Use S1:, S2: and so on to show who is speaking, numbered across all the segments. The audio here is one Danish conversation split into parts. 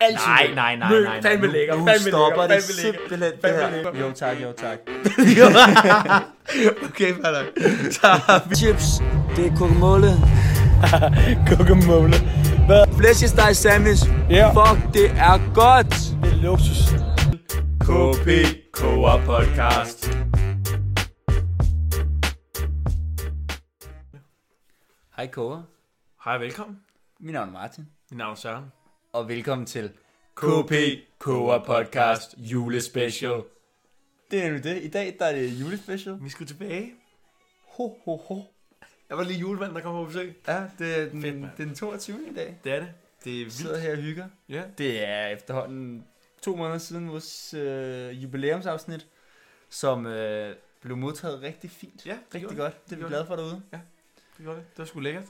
S1: Altid
S2: Nej,
S1: lækker.
S2: nej, nej,
S1: Møl,
S2: nej, nej.
S1: Fandme
S2: Nu-
S1: lækker.
S3: Nu
S1: fandme
S3: stopper
S1: lækker,
S3: det
S1: fandme lækker,
S3: simpelthen det
S1: fandme
S3: her.
S1: lækker.
S3: Jo tak, jo tak.
S1: okay, fair nok. Så har vi
S3: Chips, det er kokomåle.
S4: Guacamole. Hvad?
S3: Flæskesteg sandwich.
S4: Ja.
S3: Fuck, det er godt.
S4: Det er luksus.
S2: KP Koger Podcast.
S3: Hej Kåre,
S2: Hej og velkommen.
S3: mit navn er Martin.
S2: Mit navn er Søren.
S3: Og velkommen til.
S2: KP Koger Podcast julespecial.
S3: Det er nemlig det. I dag der er det julespecial.
S2: Vi skulle tilbage.
S3: Ho, ho, ho.
S2: Jeg var lige julemanden, der kom på besøg.
S3: Ja, det er den,
S2: Fedt,
S3: Fedt,
S2: mand.
S3: den 22. i dag.
S2: Det er det. Det er
S3: Vi
S2: vildt.
S3: sidder her og hygger.
S2: Ja.
S3: Det er efterhånden to måneder siden vores øh, jubilæumsafsnit, som øh, blev modtaget rigtig fint.
S2: Ja, det
S3: rigtig
S2: gjorde
S3: godt. Det er vi
S2: gjorde
S3: glade for derude.
S2: Det var det. Det var sgu lækkert.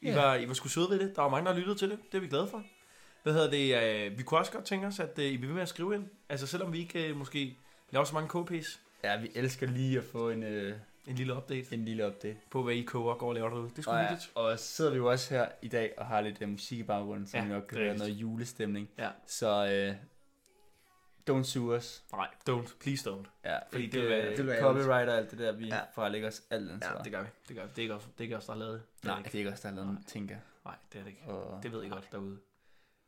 S2: I,
S3: Ja.
S2: var, I var sgu søde ved det. Der var mange, der lyttede til det. Det er vi glade for. Hvad hedder det? øh, Vi kunne også godt tænke os, at øh, I bliver ved med at skrive ind. Altså selvom vi ikke øh, måske laver så mange KP's.
S3: Ja, vi elsker lige at få en, øh,
S2: En lille update
S3: en lille update.
S2: på, hvad I koger og går og laver derude. Det er sgu
S3: Og, ja,
S2: hyggeligt.
S3: og så sidder vi jo også her i dag og har lidt øh, musik i baggrunden, som
S2: Ja,
S3: ja, nok kan
S2: det er
S3: være noget
S2: rigtigt.
S3: julestemning.
S2: Ja.
S3: Så øh, don't sue us.
S2: Nej, don't. Please don't.
S3: Ja,
S2: Fordi det vil være- det vil
S3: det
S1: være
S3: copyright og alt det der, vi
S2: Ja.
S3: ja. fralægger os alt ansvar.
S2: Ja, det gør vi. Det gør vi. Det er ikke os, det er ikke os der har lavet det. det. er
S3: Nej,
S2: det
S3: det er
S2: ikke.
S3: ikke os, der har lavet
S2: Nej.
S3: noget, tænker jeg.
S2: Nej, det er det ikke.
S3: og...
S2: Det ved I godt derude.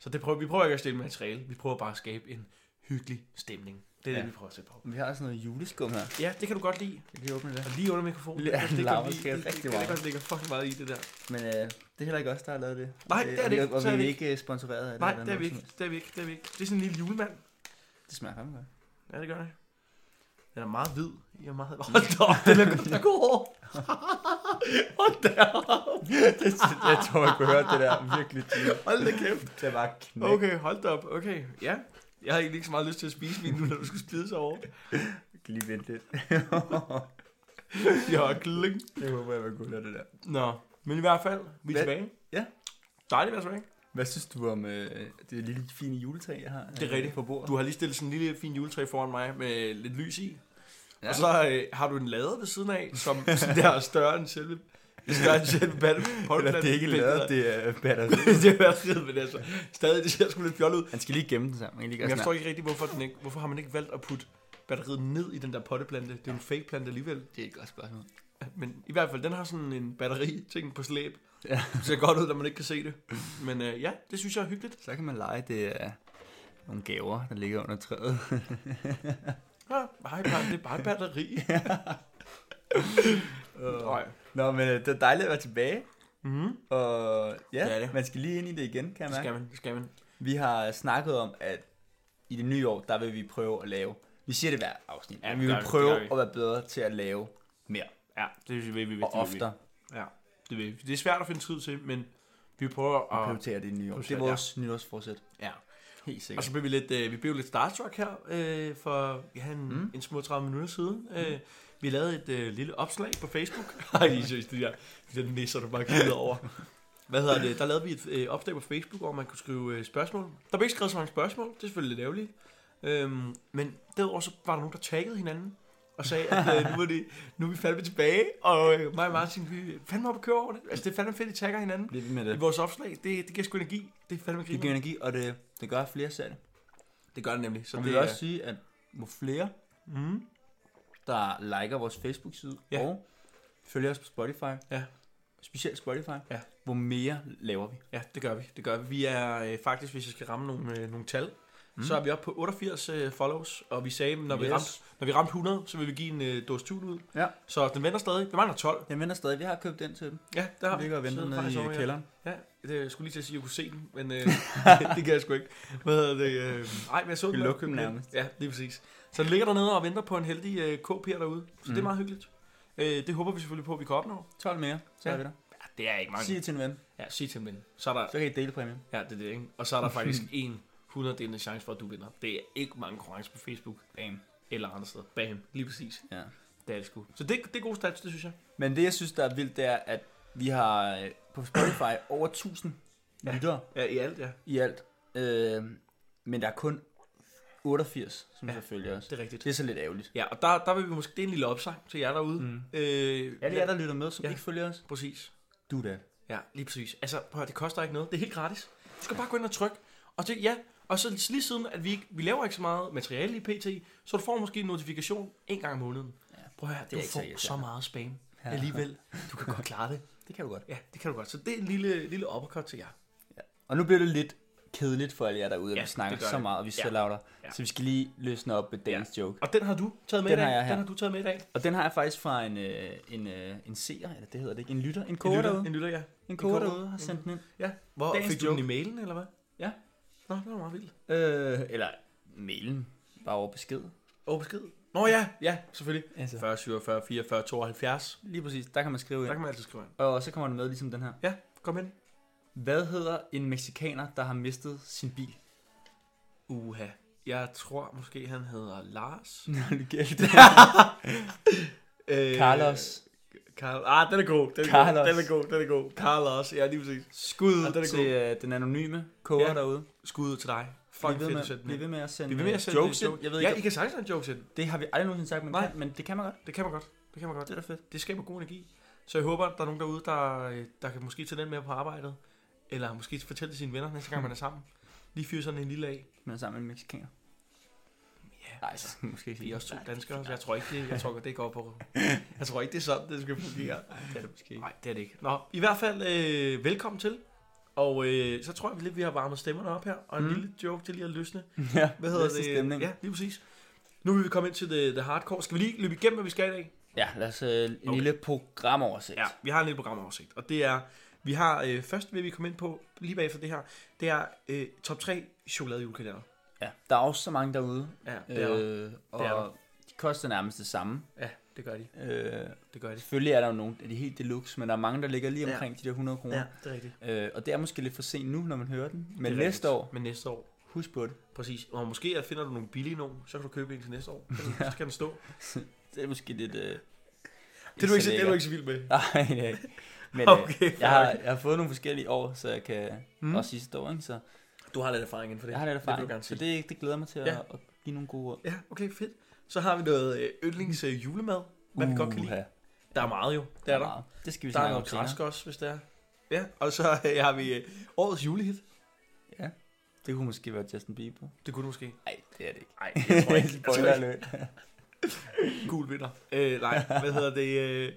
S2: Så det prøver, vi prøver ikke at stille materiale. Vi prøver bare at skabe en hyggelig stemning. Det er ja.
S3: Ja.
S2: det, vi prøver at sætte på.
S3: Men Vi har også noget juleskum her.
S2: Ja, det kan du godt lide.
S3: Vi kan åbne det.
S2: Og lige under mikrofonen.
S3: Ja,
S2: det, det,
S3: larmer
S2: det,
S3: skal
S2: det, det,
S3: rigtig
S2: det,
S3: meget.
S2: det, ligger fucking meget i det der.
S3: Men øh, det er heller ikke os, der har lavet det.
S2: Nej,
S3: Og
S2: det er
S3: og
S2: det
S3: vi-
S2: ikke.
S3: Og
S2: Så
S3: vi
S2: er
S3: er
S2: det
S3: ikke øh, sponsoreret af det.
S2: Nej,
S3: eller
S2: det er vi
S3: noget
S2: ikke.
S3: som
S2: Det er vi ikke. Det er vi ikke. Det er sådan en lille julemand.
S3: helst. Det smager fandme godt.
S2: Ja, det gør det. Den er meget hvid. Jeg er meget... Hold da op, den er, den er god hår. Hold da op.
S3: det, jeg tror, jeg kunne høre det der virkelig tydeligt.
S2: Hold da kæft.
S3: Det var knæk.
S2: Okay, hold da op. Okay, ja. Jeg har egentlig ikke så meget lyst til at spise min nu, når du skal spide sig over.
S3: Lige vent lidt.
S2: Jeg har kling.
S3: Jeg håber, jeg var god af det der.
S2: Nå, men i hvert fald, vi er
S3: Hvad-
S2: tilbage.
S3: Ja.
S2: Dejligt at være tilbage.
S3: Hvad synes du om øh, det lille fine juletræ, jeg har?
S2: Det er
S3: øh,
S2: rigtigt.
S3: På bordet.
S2: Du har lige stillet sådan en lille fin juletræ foran mig med lidt lys i. Ja.
S3: Ja.
S2: Og så øh, har du en lade ved siden af, som sådan der er større end selve... Større end selve batte,
S3: Eller det er ikke lavet, det er øh, batteri.
S2: det er være fedt, men altså, stadig, det ser sgu lidt fjollet ud.
S3: Han skal lige gemme den sammen. Han kan lige
S2: Men
S3: gøre
S2: jeg
S3: sådan
S2: forstår ikke rigtig, hvorfor, den ikke, hvorfor har man ikke valgt at putte batteriet ned i den der potteplante. Det er jo en fake plante alligevel.
S3: her. Det er et godt spørgsmål.
S2: Men i hvert fald, den har sådan en batteri-ting på slæb.
S3: Ja.
S2: Det ser godt ud, når man ikke kan se det. Men øh, ja, det synes jeg er hyggeligt.
S3: Så kan man lege, det er nogle gaver, der ligger under træet.
S2: Ja, bare, bare, det er bare et batteri. Nej.
S3: Nå, men øh, det er dejligt at være tilbage.
S2: Mm-hmm.
S3: Og ja,
S2: Det er
S3: det
S2: det.
S3: det. man skal lige ind i det igen, kan jeg
S2: Det
S3: mærke.
S2: skal man, det skal man.
S3: Vi har snakket om, at i det nye år, der vil vi prøve at lave... Vi siger det hver afsnit,
S2: Ja,
S3: ja,
S2: det
S3: vi
S2: gør
S3: vil
S2: vi, det
S3: prøve
S2: gør vi.
S3: at være bedre til at lave mere
S2: Ja, det vil vi.
S3: og oftere
S2: Det, vil. vi. det er svært at finde tid til, men vi prøver
S3: og
S2: at...
S3: prioritere det i det nye år. Det er
S2: prioritere,
S3: vores ja. nytårsforsæt.
S2: Ja.
S3: Helt
S2: Og
S3: sikkert.
S2: så blev vi lidt, øh, vi blev lidt starstruck her øh, for ja, en, mm.
S3: Mm.
S2: en små 30 minutter siden. Øh, vi lavede et øh, lille opslag på Facebook. Ej, I synes, det der, det der nisser, du bare glider over. Hvad hedder det? Der lavede vi et øh, opslag på Facebook, hvor man kunne skrive øh, spørgsmål. Der blev ikke skrevet så mange spørgsmål, det er selvfølgelig lidt ærgerligt. Øhm, men derudover så var der nogen, der taggede hinanden og sagde, at øh, nu, er det, nu er vi fandme tilbage, og øh, mig og Martin, vi er fandme op og køre over det. Altså, det er fandme fedt, at I tagger hinanden
S3: Lidt med
S2: i vores opslag. Det, det giver sgu energi. Det er fandme
S3: Det
S2: griner.
S3: giver energi, og det, det gør flere salg.
S2: Det gør det nemlig. Så
S3: Og vi
S2: det
S3: vil også sige, at hvor flere,
S2: Mm.
S3: der liker vores Facebook-side
S2: Ja.
S3: ja. og følger os på Spotify,
S2: Ja.
S3: specielt Spotify,
S2: Ja.
S3: hvor mere laver vi.
S2: Ja, det gør vi. Det gør vi. Vi er øh, faktisk, hvis jeg skal ramme nogle, øh, nogle tal, mm. så er vi oppe på 88 øh, follows, og vi sagde, når, yes. vi
S3: Yes.
S2: ramte, når vi ramte 100, så vil vi give en øh, dåse tun ud.
S3: Ja.
S2: Så den vender stadig. Vi mangler 12.
S3: Den venter stadig. Vi har købt den til dem.
S2: Ja, der har
S3: Den ligger og venter
S2: sidder
S3: nede
S2: faktisk
S3: i
S2: over, ja.
S3: kælderen.
S2: Ja, det jeg skulle lige til at sige, at jeg kunne se den, men øh, det kan jeg sgu ikke. Hvad hedder det? Øh, ej, men jeg så den.
S3: Vi
S2: da jeg
S3: lukker den
S2: købte
S3: nærmest.
S2: Ja, lige præcis. Så den ligger dernede og venter på en heldig øh, KP'er derude. Så mm. det er
S3: Mm.
S2: meget hyggeligt. Øh, det håber vi selvfølgelig på, at vi kan opnå.
S3: 12 mere, så
S2: Ja.
S3: er vi der.
S2: Ja, det er ikke
S3: Sig det til en ven,
S2: Ja, sig til min. Så er der
S3: så kan I dele præmien.
S2: Ja, det er det, ikke? Og så er der faktisk en 100 chance for, at du vinder. Det er ikke mange konkurrencer på Facebook
S3: Bam.
S2: eller andre steder. Bam, lige præcis.
S3: Ja.
S2: Det er det sgu. Så det, det er gode stats, det synes jeg.
S3: Men det, jeg synes, der er vildt, det er, at vi har øh, på Spotify over 1000
S2: Ja.
S3: ja. lyttere
S2: Ja, i alt, ja.
S3: i alt. Øh, men der er kun 88, som
S2: Ja.
S3: ja. så følger os.
S2: Det er rigtigt.
S3: Det er så lidt ærgerligt.
S2: Ja, og der, der vil vi måske... Det er en lille opsang til jer derude.
S3: Mm.
S2: Øh,
S3: Alle jer, der lytter med, som
S2: Ja.
S3: ja. ikke følger os,
S2: Præcis.
S3: do that.
S2: Ja, lige præcis. Altså, prøv at, høre, det koster ikke noget. Det er helt gratis. Du skal bare gå ind og trykke. Og det, ja, Og så lige siden, at vi, ikke, vi laver ikke så meget materiale i PT, så du får måske en notifikation en gang om måneden.
S3: Ja.
S2: Prøv at høre,
S3: Det er
S2: det
S3: ikke
S2: du
S3: så
S2: får
S3: irriterende.
S2: så meget spam
S3: Ja.
S2: ja. alligevel. Du kan godt klare det.
S3: Det kan du godt.
S2: Ja, det kan du godt. Så det er en lille, lille uppercut til jer.
S3: Og nu bliver det lidt kedeligt for alle jer derude, at
S2: Ja,
S3: vi snakker
S2: det gør
S3: så
S2: det.
S3: meget, og vi
S2: Ja.
S3: så louder.
S2: Ja.
S3: Så vi skal lige løsne op med dagens joke.
S2: Og den har du taget med
S3: Den
S2: i dag.
S3: har jeg her.
S2: Den har du taget med i dag.
S3: Og den har jeg faktisk fra en, øh, en, øh, en seer, eller det hedder det ikke, en lytter, en koger
S2: en lytter,
S3: derude.
S2: en lytter, ja.
S3: En koger
S2: koger.
S3: derude har sendt den ind.
S2: ja. Hvor
S3: Dagens
S2: fik du
S3: joke.
S2: den i mailen, eller hvad?
S3: Ja.
S2: Nå, det var meget vildt.
S3: Øh, eller mailen, bare over besked.
S2: Over besked. Nå ja, ja, selvfølgelig.
S3: Altså,
S2: 40, 47, 44, 72.
S3: lige præcis, der kan man skrive
S2: Der
S3: ind.
S2: kan man altid skrive ind.
S3: Og så kommer den med ligesom den her.
S2: Ja, kom ind.
S3: Hvad hedder en mexikaner, der har mistet sin bil?
S2: Uha. Jeg tror måske, han hedder Lars.
S3: Nå, det gælder
S2: Øh,
S3: Carlos.
S2: Carl, ah, den er god. Den er
S3: Carlos.
S2: Carlos. god. Den er god, den er god. Carlos, ja, lige præcis.
S3: Skud
S2: Ah, den er
S3: til øh, den anonyme koger
S2: Ja.
S3: derude.
S2: Skud ud til dig.
S3: Bliv
S2: Fuck,
S3: ved,
S2: fedt
S3: med,
S2: at sætte den
S3: bliv
S2: ind.
S3: ved med at sende,
S2: Vi vil med at
S3: øh,
S2: sende
S3: jokes ind.
S2: joke.
S3: Jeg ved
S2: ja,
S3: ikke,
S2: I kan sagtens sende jokes ind.
S3: om- det har vi aldrig nogensinde sagt, man
S2: Nej.
S3: kan, men det kan man godt.
S2: Det kan man godt. Det kan man godt.
S3: Det er da fedt.
S2: Det skaber god energi. Så jeg håber, at der er nogen derude, der, øh, der kan måske tage den med på arbejdet. Eller måske fortælle sine venner næste gang, man er sammen. Lige fyre sådan en lille af.
S3: Man er sammen med en mexikaner.
S2: Ja,
S3: Nej, altså, så skal man måske ikke
S2: Vi er
S3: sige.
S2: også to danskere, så jeg tror ikke, det, jeg tror, det går på. Jeg tror ikke, det er sådan, det skal fungere.
S3: Det er det måske ikke.
S2: Nej, det er det ikke. Nå, i hvert fald, øh, velkommen til. Og øh, så tror jeg vi lidt, vi har varmet stemmerne op her. Og en
S3: Mm.
S2: mm. lille joke til lige at løsne.
S3: Ja,
S2: Hvad hedder
S3: næste
S2: det?
S3: Stemning. Ja.
S2: Ja, lige præcis. Nu vil vi komme ind til the, the hardcore. Skal vi lige løbe igennem, hvad vi skal i dag?
S3: ja, lad os øh, en
S2: Okay.
S3: lille programoversigt.
S2: Ja, vi har en lille programoversigt. Og det er, vi har, øh, først vil vi komme ind på, lige bagefter det her, det er øh, top 3 chokoladejulekalender.
S3: ja. Der er også så mange derude,
S2: Ja, det er øh.
S3: øh, og
S2: Det er der.
S3: de koster nærmest det samme.
S2: Ja, det gør de.
S3: Øh,
S2: Det gør de.
S3: selvfølgelig er der jo nogle af de helt deluxe, men der er mange, der ligger lige
S2: Ja.
S3: omkring de der 100 kroner.
S2: Ja,
S3: Ja.
S2: det er rigtigt.
S3: Øh, og det er måske lidt for sent nu, når man hører den.
S2: Det
S3: Men
S2: er
S3: næste
S2: rigtigt.
S3: år,
S2: Men næste år.
S3: husk på det.
S2: Præcis. Og måske at finder du nogle billige nogen, så kan du købe en til næste år. Så kan, ja. så kan den stå.
S3: Det er måske lidt... Øh,
S2: Det er, du ikke, så- det er du
S3: lækkert.
S2: ikke så vild med. øh,
S3: Nej, det er jeg ikke. Men okay,
S2: Okay,
S3: jeg, har,
S2: fair.
S3: jeg har fået nogle forskellige år, så jeg kan... Mm.
S2: Mm.
S3: Også sidste år, ikke? Så
S2: Du har lidt erfaring inden for det.
S3: jeg har lidt
S2: Det vil
S3: erfaring.
S2: du gerne
S3: så
S2: sige.
S3: det, det glæder mig til at,
S2: Ja.
S3: at give nogle gode råd.
S2: Ja, okay, fedt. Så har vi noget øh, yndlings øh, julemad, hvad vi godt kan lide.
S3: Uha,
S2: Der er meget jo, det er der.
S3: meget. Det skal vi
S2: Der er
S3: snakke om
S2: noget
S3: senere.
S2: græsk også, hvis det er. Ja, og så øh, har vi øh, årets julehit.
S3: Ja. Det kunne måske være Justin Bieber.
S2: Det kunne du måske.
S3: Nej, det er det ikke.
S2: Nej, jeg tror ikke. Jeg tror
S3: Spoiler
S2: ikke.
S3: alert.
S2: Gul vinder. Øh, nej, hvad hedder det? Øh,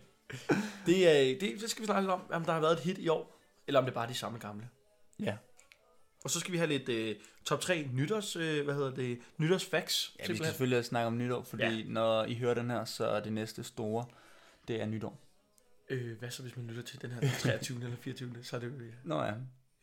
S2: det, er, det, det skal vi snakke lidt om, om der har været et hit i år, eller om det bare er de samme gamle.
S3: Ja.
S2: Og så skal vi have lidt øh, top 3 nytårs, øh, hvad hedder det, nytårsfacts.
S3: ja, vi skal
S2: simpelthen.
S3: selvfølgelig også snakke om nytår, fordi ja. når I hører den her, så er det næste store, det er nytår.
S2: Øh, hvad så hvis man lytter til den her den 23. eller 24. Så er det jo, øh, ja.
S3: Nå ja.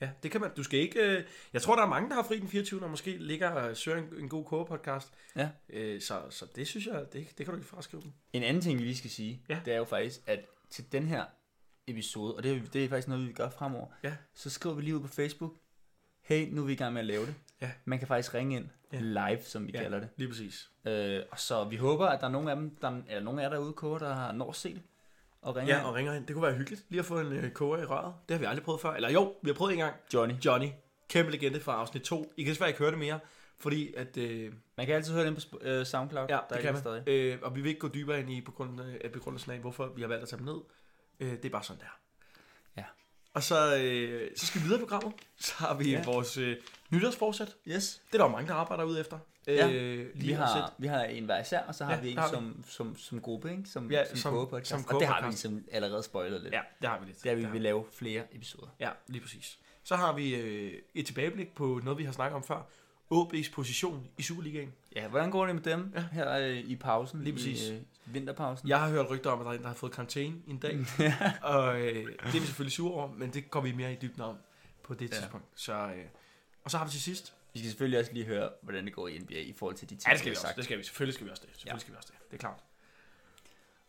S2: ja, det kan man. Du skal ikke... Øh, jeg tror, der er mange, der har fri den 24. og måske ligger og søger en, en god kogepodcast.
S3: Ja.
S2: Øh, så, så det synes jeg, det, det kan du ikke fraskrive dem.
S3: En anden ting, vi lige skal sige, ja.
S2: Ja.
S3: det er jo faktisk, at til den her episode, og det, er- det er faktisk noget, vi gør fremover,
S2: Ja.
S3: så skriver vi lige ud på Facebook, hey, nu er vi i gang med at lave det.
S2: Ja.
S3: Man kan faktisk ringe ind ja.
S2: Ja.
S3: live, som vi ja. kalder det.
S2: lige præcis.
S3: Øh, og så vi håber, at der er nogle af dem, der, eller nogle af jer derude, koger, der har når at se det, og ringer
S2: Ja, og ringer ind. Det kunne være hyggeligt lige at få en øh, koger i røret. Det har vi aldrig prøvet før. Eller jo, vi har prøvet en gang.
S3: Johnny.
S2: Johnny, kæmpe legende fra afsnit 2. I kan desværre ikke høre det mere, fordi at... Øh,
S3: Man kan altid høre den på Sp- øh, SoundCloud,
S2: Ja,
S3: der er
S2: det
S3: den
S2: kan man.
S3: stadig.
S2: Øh, og vi vil ikke gå dybere ind i på grund af af begrundelsen af, hvorfor vi har valgt at tage dem ned. Øh, det er bare sådan, der.
S3: Ja.
S2: Og så, øh, så skal vi videre i programmet. Så har vi
S3: Ja.
S2: ja. vores øh, nytårsforsæt.
S3: Yes.
S2: Det er der jo mange, der arbejder ud efter.
S3: Ja,
S2: øh,
S3: Vi har, vi har en hver især, og så har ja,
S2: Ja,
S3: vi en
S2: der har vi.
S3: som, som, som gruppe, ikke? Som,
S2: Ja,
S3: som,
S2: som-
S3: koger podcast.
S2: som
S3: og det
S2: koger
S3: har vi
S2: podcast.
S3: ligesom allerede spoilet lidt.
S2: Ja, det har vi lidt.
S3: Der vi
S2: har
S3: vil lave flere episoder.
S2: Ja, lige præcis. Så har vi øh, et tilbageblik på noget, vi har snakket om før. OB's position i Superligaen.
S3: Ja, hvordan går det med dem ja.
S2: Ja.
S3: her øh, i pausen?
S2: Lige præcis.
S3: I, øh, vinterpausen.
S2: Jeg har hørt rygter om, at der er en, der har fået karantæne i en dag. og øh, det er vi selvfølgelig sure over, men det går vi mere i dybden om på det
S3: Ja.
S2: tidspunkt. Så, øh, og så har vi til sidst
S3: Vi skal selvfølgelig også lige høre, hvordan det går i NBA i forhold til de ting,
S2: Ja, det skal
S3: vi
S2: vi
S3: har
S2: også.
S3: sagt.
S2: Det skal vi. Selvfølgelig skal vi også det. Selvfølgelig
S3: Ja.
S2: ja. skal vi også det. Det er klart.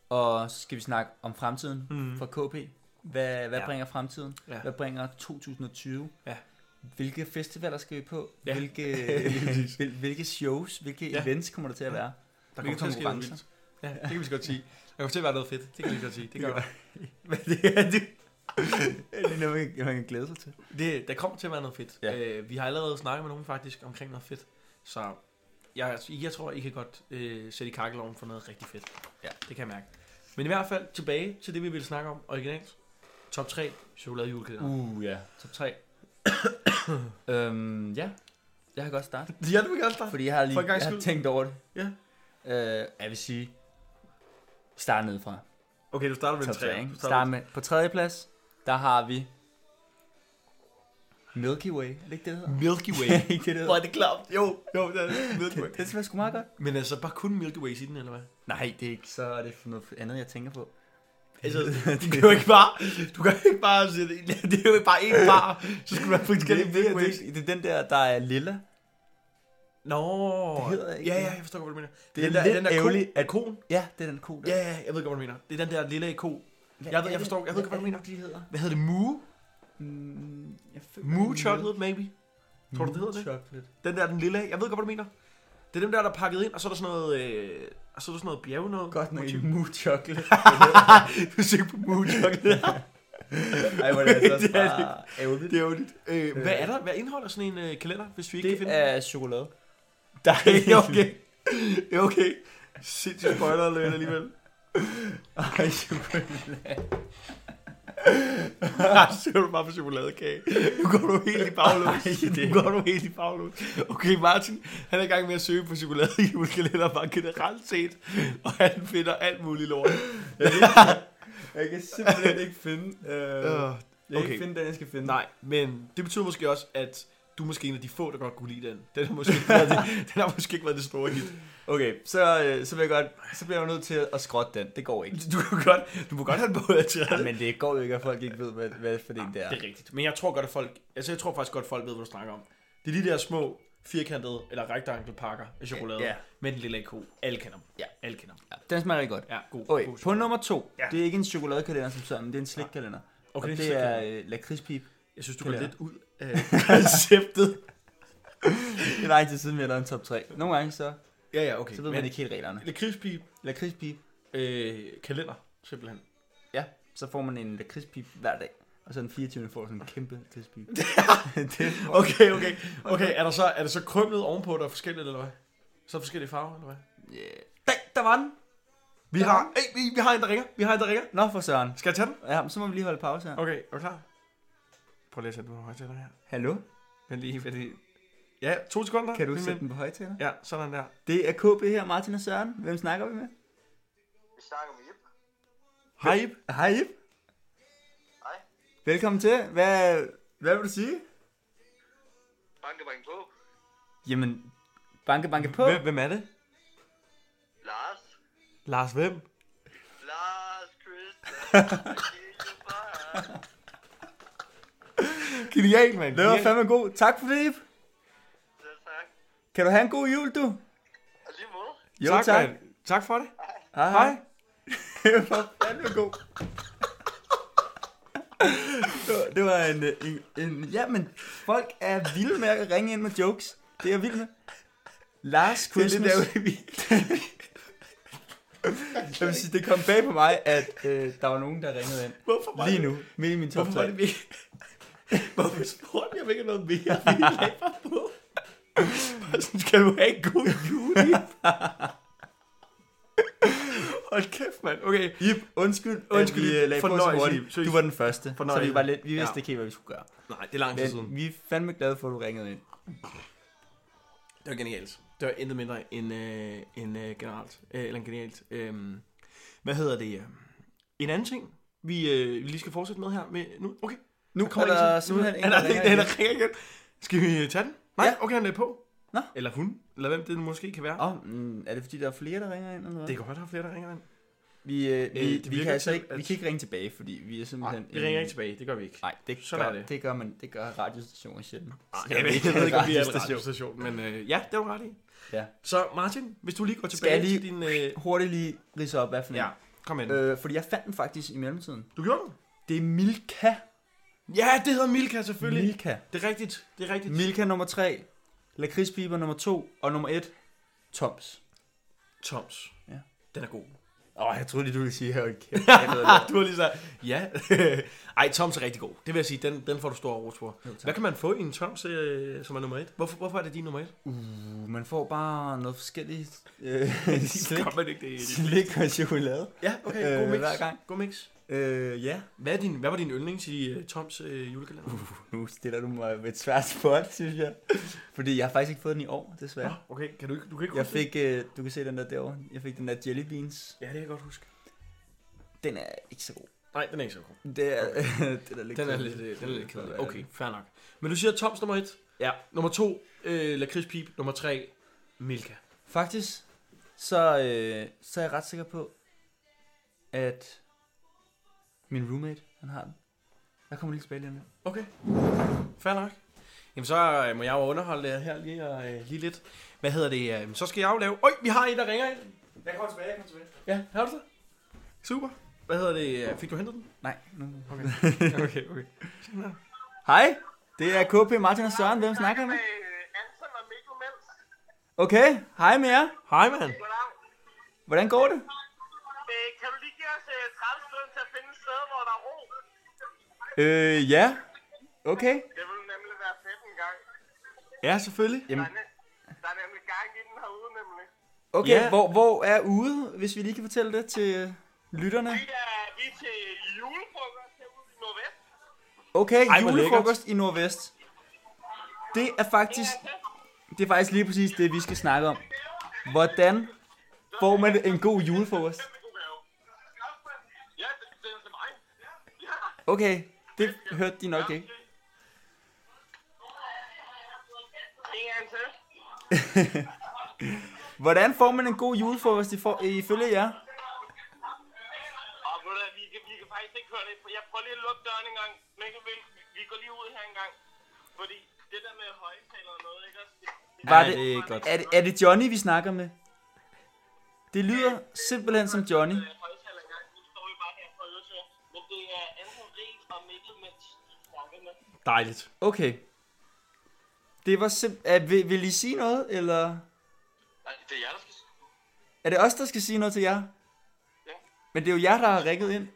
S3: Og så skal vi snakke om fremtiden mm.
S2: Mhm.
S3: for KP. Hvad, hvad ja.
S2: Ja.
S3: bringer fremtiden? Ja.
S2: Ja.
S3: Hvad bringer 2020?
S2: Ja.
S3: Hvilke festivaler skal vi på? Ja.
S2: Ja.
S3: Hvilke, hvil, hvilke shows, hvilke ja.
S2: Ja.
S3: events kommer der til at være?
S2: Der
S3: Hvilke
S2: kommer til at ske noget
S3: konkurrencer?
S2: vildt. Ja, det kan vi så godt sige. Der kommer til at være noget fedt. Det kan vi lige så godt sige. Det,
S3: Det
S2: gør
S3: gør
S2: der.
S3: Men det er det, det er noget, man kan- man kan glæde sig til.
S2: det, der kommer til at være noget fedt.
S3: Ja.
S2: Ja. Øh, vi har allerede snakket med nogen faktisk omkring noget fedt. Så jeg, jeg tror, I kan godt øh, sætte i kakkeloven for noget rigtig fedt.
S3: Ja.
S2: Det kan jeg mærke. Men i hvert fald tilbage til det, vi ville snakke om originalt. Top 3 chokolade julekalender.
S3: Uh, ja. Top 3. Uh, øhm, ja. Jeg kan godt starte,
S2: Ja, du vil gerne starte.
S3: fordi jeg har lige
S2: For en gangs
S3: jeg har
S2: skyld.
S3: tænkt over det.
S2: Ja.
S3: Øh, jeg vil sige, start nedefra.
S2: Okay, du starter med en
S3: Top tre,
S2: træer.
S3: ikke?
S2: Du
S3: Start
S2: starter med...
S3: med, på tredje plads, der har vi Milky Way. Er det ikke det, det hedder?
S2: Milky Way.
S3: Ja, ikke det, det
S2: Hvor
S3: hedder?
S2: er det klart? Jo, jo, det er Milky Way.
S3: Det, det smager sgu meget godt.
S2: Men altså, bare kun Milky Way i den, eller hvad?
S3: Nej, det er ikke så er det for noget andet, jeg tænker på.
S2: Altså, du kan jo ikke bare, du kan jo ikke bare sige, det er jo bare én bar, så skulle man
S3: Det, det,
S2: forskellige
S3: det,
S2: Milky
S3: det,
S2: Ways.
S3: det, det er den der, der er lilla.
S2: Nå,
S3: Det hedder ikke
S2: ja,
S3: det.
S2: ja, jeg forstår godt, hvad du mener.
S3: Det er lidt ærgerligt,
S2: at kon.
S3: Ja, det er den ko der.
S2: Ja, ja, jeg ved godt, hvad du mener. Det er den der lille ko. jeg ved- jeg forstår- jeg ved godt, hvad du mener.
S3: de hedder.
S2: Hvad hedder det? Moo?
S3: Mm, jeg føler,
S2: Moo
S3: det er
S2: chocolate, maybe?
S3: noget.
S2: Tror du, det hedder det?
S3: Chocolate.
S2: Den der, den lille af. Jeg ved godt, hvad du mener. Det er dem der, der er pakket ind, og så er der sådan noget, øh, og så er der sådan noget bjerge noget.
S3: Godt nok
S2: motiv.
S3: ikke Moo chocolate.
S2: Du søgte på Moo chocolate.
S3: Ej, hvor er det altså også
S2: Det er det
S3: bare ærgerligt.
S2: det er jo lidt. Øh, hvad er der? Hvad indeholder sådan en øh, kalender, hvis vi ikke kan
S3: Det
S2: finde
S3: er chokolade.
S2: Der er okay. Ja, okay. Sindssygt spoiler alert alligevel.
S3: Ej, chokolade.
S2: Ah, så er du bare på chokoladekage. Nu går du helt i baglås.
S3: Ej, det-
S2: Nu går du helt i baglås. Okay, Martin, han er i gang med at søge på chokolade i julekalender bare generelt set. Og han finder alt muligt lort.
S3: Jeg kan simpelthen ikke finde, øh,
S2: Øh,
S3: jeg kan
S2: okay.
S3: ikke finde den, jeg skal finde.
S2: nej, men det betyder måske også, at du er måske en af de få, der godt kunne lide den. Den har måske ikke været det, den har måske ikke været det store hit.
S3: Okay, så, øh, så, vil jeg godt, så bliver jeg jo nødt til at skrotte den. Det går ikke.
S2: Du, kan godt, du må godt have den på at træde.
S3: Ja, men det går jo ikke, at folk ikke ved, hvad, hvad for det der.
S2: Det er rigtigt. Men jeg tror godt, at folk... Altså, jeg tror faktisk godt, at folk ved, hvad du snakker om. Det er de der små firkantede eller rektangelpakker af chokolade
S3: Ja.
S2: ja. med den lille AK. Alle kender dem. Ja. Alle kender dem.
S3: Ja, den smager rigtig godt.
S2: Ja, god.
S3: Okay,
S2: god
S3: på
S2: chokolade.
S3: nummer to.
S2: Ja.
S3: Det er ikke en chokoladekalender som sådan, men det er en slikkalender.
S2: Okay,
S3: og
S2: det er
S3: det
S2: en
S3: er øh, lakridspip.
S2: Jeg synes, du
S3: Det
S2: går
S3: der.
S2: lidt ud af konceptet.
S3: Det er lang tid siden, vi har lavet en top 3. Nogle gange så,
S2: ja, ja, okay.
S3: så ved man ikke helt reglerne.
S2: Lakridspip,
S3: Lakridspip,
S2: øh, kalender, simpelthen.
S3: ja, så får man en lakridspip hver dag. Og så den 24. får sådan en kæmpe lakridspip. det,
S2: Okay, okay. Okay, er, der så, er det så krømlet ovenpå, der er forskelligt, eller hvad? Så er forskellige farver, eller hvad?
S3: yeah.
S2: Der, der var den. Vi
S3: Der
S2: har,
S3: var
S2: Ey, vi, vi har en, der ringer. Vi har en, der ringer.
S3: Nå for søren.
S2: Skal jeg tage den?
S3: Ja, men så må vi lige holde pause her.
S2: Okay, er du klar? Prøv lige at sætte den på højtaler her.
S3: Hallo?
S2: Men lige, fordi... Ja, to sekunder.
S3: Kan du
S2: Min
S3: sætte
S2: ven.
S3: den på højtaler?
S2: Ja, sådan der.
S3: Det er KB her, Martin og Søren. Hvem snakker vi med?
S4: Vi snakker med Jip.
S2: Hej, Ip.
S3: Hej, Ip.
S4: Hej.
S3: Velkommen til. Hvad, hvad vil du sige?
S4: Banke, banke på.
S3: Jamen, banke, banke på.
S2: Hvem, hvem er det?
S4: Lars.
S2: Lars hvem?
S4: Lars Christian. Jesus, bare.
S2: Genial, mand.
S3: Det var fandme god. Tak for det, Ip.
S4: Selv tak.
S3: Kan du have en god jul, du?
S4: Og lige måde.
S3: Jo,
S2: tak,
S3: tak.
S2: mand. tak for det.
S3: Hej.
S2: Hej.
S3: Det var fandme god. Det var- Det var en, øh, en, en... Ja, men folk er vilde med at ringe ind med jokes. Det er jeg vild med. Last Christmas. Det er lidt jeg vil sige, det kom bag på mig, at øh, der var nogen, der ringede ind.
S2: Hvorfor var
S3: Lige
S2: det-
S3: nu, midt i min top
S2: Hvorfor var
S3: 3.
S2: det vi... Hvorfor spurgte jeg ikke noget mere? Vi lagde bare på. Bare sådan, skal du have en god jul, Ip? Hold kæft, mand. Okay.
S3: Ip, undskyld,
S2: Undskyld,
S3: undskyld, vi
S2: Ip.
S3: øh, lagde på så
S2: Fornøjelse, Ip.
S3: hurtigt.
S2: Seriøst.
S3: Du var den første, så vi,
S2: Fornøjelse.
S3: var lidt, vi vidste
S2: Ja.
S3: ikke helt, hvad vi skulle gøre.
S2: Nej, det er lang tid
S3: Men
S2: siden.
S3: vi er fandme glade for, at du ringede ind.
S2: Det var genialt. Det var intet mindre end, øh, end øh, generelt. Øh, eller end genialt. Øhm, hvad hedder det? øh? En anden ting, vi, øh, vi lige skal fortsætte med her med nu. Okay,
S3: Nu
S2: kommer der simpelthen en, der ringer, igen. ringer igen. Skal vi øh, tage den? Nej,
S3: Ja.
S2: ja. okay, han er på.
S3: Nå.
S2: Eller hun, eller hvem det nu måske kan være.
S3: Åh, oh, mm, er det fordi, der er flere, der ringer ind? Eller hvad?
S2: Det kan godt have flere, der ringer ind.
S3: vi, øh, vi,
S2: Øh, det
S3: øh, vi, kan
S2: virker
S3: altså
S2: til,
S3: ikke, vi
S2: at-
S3: kan ikke ringe tilbage, fordi vi er simpelthen...
S2: Nej, vi ringer ikke tilbage, det gør vi ikke.
S3: Nej, det,
S2: Sådan
S3: gør,
S2: er det.
S3: det gør man. Det gør radiostationer sjældent.
S2: Ej, jeg, ved, jeg ved ikke, om vi er en radiostation, men øh, ja, det er du ret i.
S3: Ja.
S2: Så Martin, hvis du lige går
S3: jeg
S2: tilbage
S3: lige-
S2: til din... Øh,
S3: Hurtigt lige ridse op, hvad for en.
S2: ja, kom ind.
S3: Øh, fordi jeg fandt den faktisk i mellemtiden.
S2: Du gjorde den?
S3: Det er Milka.
S2: Ja, det hedder Milka selvfølgelig.
S3: Milka.
S2: Det er rigtigt, det er rigtigt.
S3: Milka nummer 3. Lakridspiber nummer 2. Og nummer 1. Toms.
S2: Toms.
S3: Ja.
S2: Den er god.
S3: Åh, oh, jeg troede lige, du ville sige, her.
S2: du var lige så, ja. Ej, Toms er rigtig god. Det vil jeg sige, den, den får du stor ros for.
S3: Jo,
S2: Hvad
S3: tak.
S2: kan man få i en Toms, øh, som er nummer et? Hvorfor, hvorfor er det din nummer et?
S3: Uh, man får bare noget forskelligt øh, slik,
S2: Gør man ikke det?
S3: slik og chokolade.
S2: Ja, okay. God
S3: Øh,
S2: mix.
S3: hver gang.
S2: God mix.
S3: Øh, ja,
S2: Hvad, er din, hvad var din yndlings i uh, Toms øh, julekalender? Uh,
S3: nu stiller du mig ved et svært spot, synes jeg. Fordi jeg har faktisk ikke fået den i år, desværre.
S2: okay, kan du, ikke- du kan ikke
S3: Jeg
S2: huske det?
S3: fik, øh, du kan se den der derovre, jeg fik den der Jelly Beans.
S2: Ja, det kan jeg godt huske.
S3: Den er ikke så god.
S2: Nej, den er ikke så god.
S3: Det er, den er lidt
S2: Den er
S3: kedelig.
S2: lidt, øh, den er lidt kedelig. Okay, fair nok. Men du siger Toms nummer et.
S3: Ja.
S2: Nummer to, øh, Lakrids Pip. Nummer tre, Milka.
S3: Faktisk, så, øh, så er jeg ret sikker på, at min roommate, han har den. Jeg kommer lige tilbage lige om lidt.
S2: Okay, fair nok. Jamen så øh, må jeg jo underholde jer her lige, og, øh, lige lidt. Hvad hedder det? Øh, så skal jeg jo lave... Øj, vi har en, der ringer ind.
S1: Jeg kommer tilbage, jeg kommer tilbage.
S2: Ja, har du det? Super. Hvad hedder det? øh, Fik du hentet den?
S3: Nej, nu. Okay.
S2: okay, okay. Sådan her.
S3: Hej, det er KP Martin og Søren. Hvem snakker jeg med?
S4: med øh, Anton og Mikko Mens.
S3: Okay, hej med jer.
S2: Hej, mand.
S4: Goddag.
S3: Hvordan går det?
S4: Øh, kan du lige give os øh, 30 sekunder til at finde et sted, hvor der er ro?
S3: Øh, ja. Okay.
S4: Det ville nemlig være fedt en gang.
S2: Ja, selvfølgelig.
S4: Der er, ne- der er nemlig gang i den herude, nemlig.
S3: Okay,
S2: Ja.
S3: yeah. hvor, hvor er ude, hvis vi lige kan fortælle det til øh, lytterne?
S4: Vi er, vi er til julefrokost herude i Nordvest.
S3: Okay,
S2: Ej,
S3: Ej,
S2: hvor
S3: julefrokost i Nordvest. Det er faktisk det er faktisk lige præcis det, vi skal snakke om. Hvordan får man en god julefrokost?
S4: Ja, det, det er til mig. Ja.
S3: Okay, det hørte de nok ikke.
S4: En gang til.
S3: Hvordan får man en god julefrokost ifo- ifølge jer?
S4: Og ved du hvad, vi kan, vi kan faktisk ikke høre det. Jeg prøver lige at lukke døren en gang. Mikkel, vi, vi går lige ud her en gang. Fordi det der med højtaler og noget, ikke også?
S3: Var
S2: Ej,
S3: det,
S2: det er ikke godt.
S3: er, det, er det Johnny, vi snakker med? Det lyder simpelthen som Johnny.
S4: Øh, højtaler engang. Nu står vi bare her og prøver til. Men det er Anton Rig og Mikkel Mens. snakker med.
S2: Dejligt.
S3: Okay. Det var simpelthen... Vil, vil I sige noget, eller...
S4: Nej, det er jeg, der skal sige.
S3: Er det os, der skal sige noget til jer?
S4: Ja.
S3: Men det er jo jer, der har rækket ind.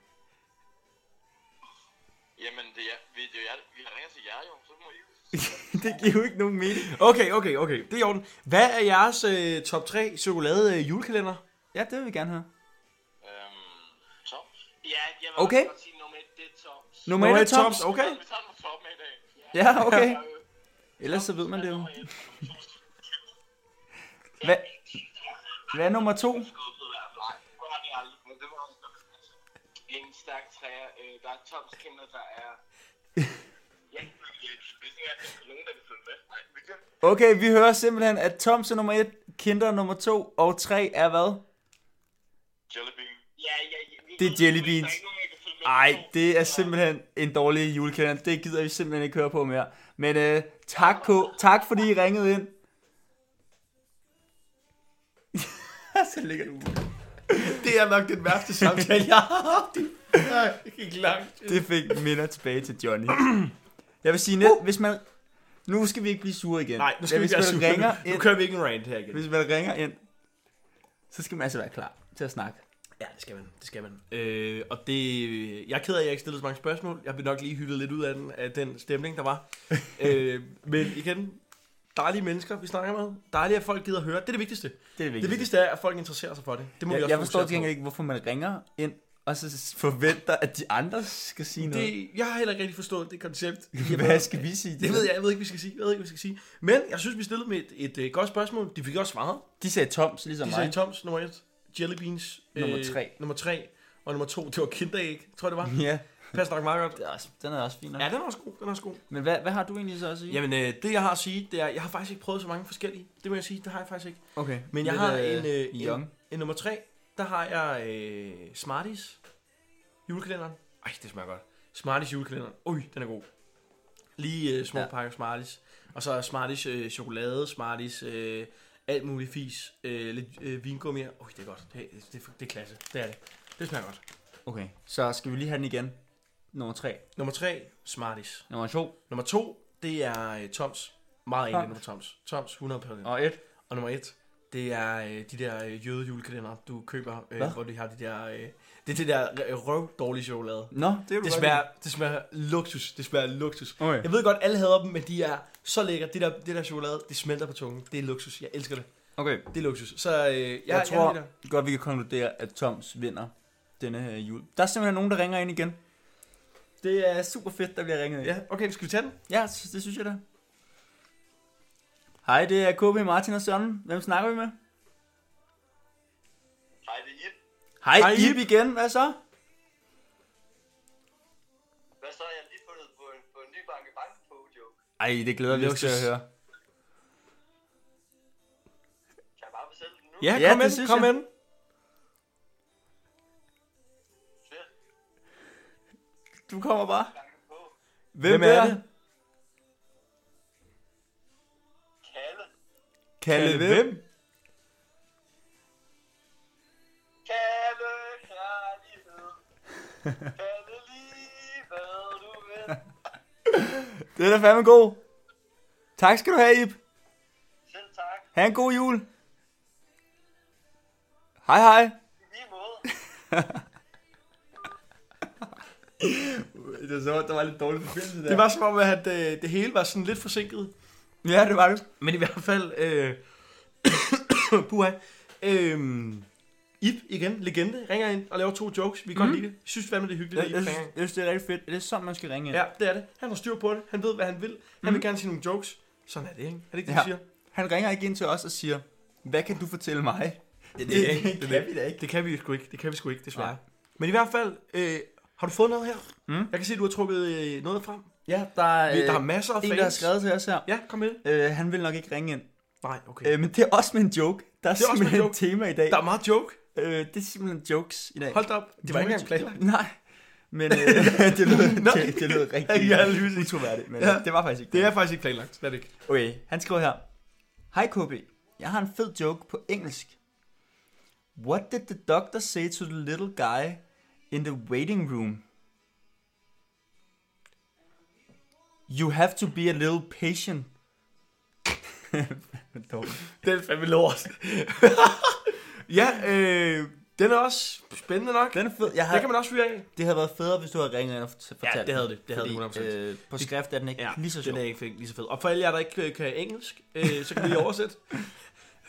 S4: Jamen, det er, vi, det er jeg, vi ringer til jer jo, så må I
S3: det giver jo ikke nogen mening.
S2: Okay, okay, okay. Det er i orden. Hvad er jeres øh, top 3 chokolade øh, julekalender?
S3: Ja, det vil vi gerne høre.
S4: Øhm, Toms? Ja, jeg vil
S3: Okay.
S4: også godt sige, nummer et, det er Toms.
S3: Nummer
S2: Nummer
S3: 1 er
S2: et,
S3: Toms.
S2: Toms. Okay.
S4: Vi tager den på toppen af i dag.
S3: Ja, okay. Ellers så ved man det jo. Hvad, hvad er nummer 2?
S4: En stærk træer. Øh, der er Toms kinder, der er... Ja, jeg vidste ikke, at der er nogen, der kan følge med. Nej, vi kan.
S3: Okay, vi hører simpelthen, at Toms er nummer 1, Kinder nummer 2, og 3 er hvad?
S4: Jellybean. Ja, ja, ja. vi-
S3: Det er Jelly Beans.
S4: Der er ikke nogen, der kan følge med.
S3: Ej, det er simpelthen en dårlig julekalender. Det gider vi simpelthen ikke høre på mere. Men øh, tak, på, tak fordi I ringede ind. så ligger du.
S2: Det er nok den værste samtale, jeg har haft. Nej, det gik langt.
S3: Det fik minder tilbage til Johnny. Jeg vil sige, net, uh. hvis man... Nu skal vi ikke blive sure igen.
S2: Nej, nu skal
S3: Men
S2: vi
S3: hvis
S2: ikke være
S3: man
S2: sure.
S3: ringer
S2: Nu
S3: ind,
S2: kører vi ikke en rant her igen.
S3: Hvis man ringer ind, så skal man altså være klar til at snakke.
S2: Ja, det skal man. Det skal man. Øh, og det, jeg er ked af, at jeg ikke stillede så mange spørgsmål. Jeg blev nok lige hyldet lidt ud af den, af den stemning, der var. øh, men igen, dejlige mennesker, vi snakker med. Dejligt, at folk gider at høre. Det er det vigtigste.
S3: Det er
S2: Det vigtigste er, at folk interesserer sig for det. Det må vi
S3: Jeg,
S2: også
S3: jeg forstår til
S2: fokusere på.
S3: gengæld ikke, hvorfor man ringer ind, og så forventer, at de andre skal sige noget.
S2: det, jeg har heller ikke rigtig forstået det koncept.
S3: Hvad skal vi sige?
S2: Det ved jeg, jeg ved ikke, vi skal sige. Jeg ved ikke, vi skal sige. Men jeg synes, vi stillede med et, et, øh, godt spørgsmål. De fik også svaret.
S3: De sagde Toms, ligesom
S2: De
S3: mig.
S2: sagde Toms nummer 1, Jelly Beans øh,
S3: Nummer tre.
S2: nummer 3, og nummer 2, det var Kinderæg, tror jeg det var.
S3: Ja,
S2: Passer nok meget godt.
S3: det er også, den er også fin. nok.
S2: Ja, den er også god, den er også god.
S3: Men hvad, hvad har du egentlig så at sige?
S2: Jamen, øh, det jeg har at sige, det er, jeg har faktisk ikke prøvet så mange forskellige. Det må jeg sige, det har jeg faktisk ikke.
S3: okay.
S2: Men jeg
S3: Lidt,
S2: har en, øh,
S3: young.
S2: en, en nummer 3, der har jeg øh, Smarties julekalenderen. Ej, det smager godt. Smarties julekalenderen. Ui, den er god. Lige øh, små
S3: Ja.
S2: ja. pakker Smarties. Og så er Smarties øh, chokolade, Smarties øh, alt muligt fis, øh, lidt øh, vingummi. Ui, det er godt. Det, det, det, det er klasse. Det er det. Det smager godt.
S3: Okay, så skal vi lige have den igen. Nummer 3.
S2: Nummer 3, Smarties.
S3: Nummer 2.
S2: Nummer 2, det er øh, Toms. Meget enig
S3: Toms.
S2: med Toms. Toms, 100%.
S3: Og 1.
S2: Og nummer 1, Det er øh, de der øh, jøde julekalender, du køber, øh,
S3: Hvad?
S2: hvor de har de der... Øh, det er det der øh, røv dårlige chokolade.
S3: Nå, det er du
S2: Det smager, det smager luksus. Det smager luksus.
S3: Okay.
S2: Jeg ved godt, alle hader dem, men de er så lækre. Det der, det der chokolade, det smelter på tungen. Det er luksus. Jeg elsker det.
S3: Okay,
S2: Det er luksus. Så øh, jeg,
S3: jeg, jeg tror
S2: Jeg,
S3: godt, vi kan konkludere, at Toms vinder denne her jul. Der er simpelthen nogen, der ringer ind igen. Det er super fedt, der bliver ringet ind.
S2: ja, okay, skal vi tage den?
S3: ja sy- det synes jeg da. Hej, det er KB Martin og Søren. Hvem snakker vi med?
S4: Hej, det er Ip.
S3: Hej,
S2: Hej,
S3: Ib igen. Hvad så?
S4: Hvad så? Jeg har lige fundet på en, på en ny banke banke på joke.
S3: Ej, det glæder vi os til
S2: Luksus.
S3: at høre.
S4: Kan jeg bare fortælle den nu?
S2: Ja,
S3: Ja,
S2: kom
S3: det
S2: ind,
S3: synes
S2: kom
S3: jeg.
S2: ind.
S4: Fedt.
S3: Du kommer bare.
S4: Banke på.
S3: Hvem,
S2: er det?
S4: Kalle.
S3: Kalle hvem?
S4: Kalle kærlighed. Kalle lige hvad du vil.
S3: Det er da fandme god. Tak skal du have, Ib.
S4: Selv tak.
S3: Ha' en god jul. Hej hej.
S4: I lige måde.
S3: Det var så, der var lidt dårlig forbindelse der.
S2: Det var som om, at øh, det hele var sådan lidt forsinket.
S3: Ja, det var det.
S2: Men i hvert fald, øh, puha, øh, Ip igen, legende, ringer ind og laver to jokes. Vi kan mm. godt lide det. Jeg synes fandme, det er hyggeligt,
S3: Jeg,
S2: at Ip
S3: jeg,
S2: ringer
S3: synes,
S2: ind.
S3: jeg synes, det er rigtig fedt. Det er sådan, man skal ringe ind.
S2: Ja, det er det. Han har styr på det. Han ved, hvad han vil. Han vil gerne sige nogle jokes. Sådan er det, ikke? Er det ikke det, du
S3: Ja.
S2: siger?
S3: Han ringer ikke ind til os og siger, hvad kan du fortælle mig? Det,
S2: kan vi da ikke. Det kan vi sgu ikke. Det kan vi sgu ikke, desværre. Ja. Men i hvert fald, øh, har du fået noget her?
S3: Mm.
S2: Jeg kan se, at du har trukket øh, noget frem.
S3: Ja, der er,
S2: Øh, der er masser af fans.
S3: en, der har skrevet til os her.
S2: Ja, kom med.
S3: Øh, han vil nok ikke ringe ind.
S2: Nej, okay.
S3: Øh, men det er også med en joke. Der er,
S2: Det er også med en
S3: simpelthen
S2: joke.
S3: et tema i dag.
S2: Der er meget joke.
S3: Øh, det er simpelthen jokes i dag.
S2: Hold da op. Det var ikke engang planlagt.
S3: Nej. Men øh, det, lød,
S2: Nej.
S3: det, det lød rigtig
S2: Ja, lige præcis.
S3: utroværdigt, men
S2: Ja.
S3: ja. det var faktisk ikke
S2: Det er faktisk ikke planlagt. Slet ikke.
S3: Okay, han skriver her. Hej KB, jeg har en fed joke på engelsk. What did the doctor say to the little guy in the waiting room? You have to be a little patient. Dårligt.
S2: Den er fandme lort. ja, øh, den er også spændende nok. Den,
S3: Den er fed. Jeg
S2: den kan
S3: har,
S2: man også fyre af.
S3: det havde været federe, hvis du havde ringet ind og fort- fortalt
S2: det havde
S3: den,
S2: det. Det havde det 100%.
S3: fordi, øh, på skrift er den ikke lige så sjov.
S2: den er ikke lige så fed. Og for alle jer, der ikke øh, kan engelsk, øh, så kan vi oversætte.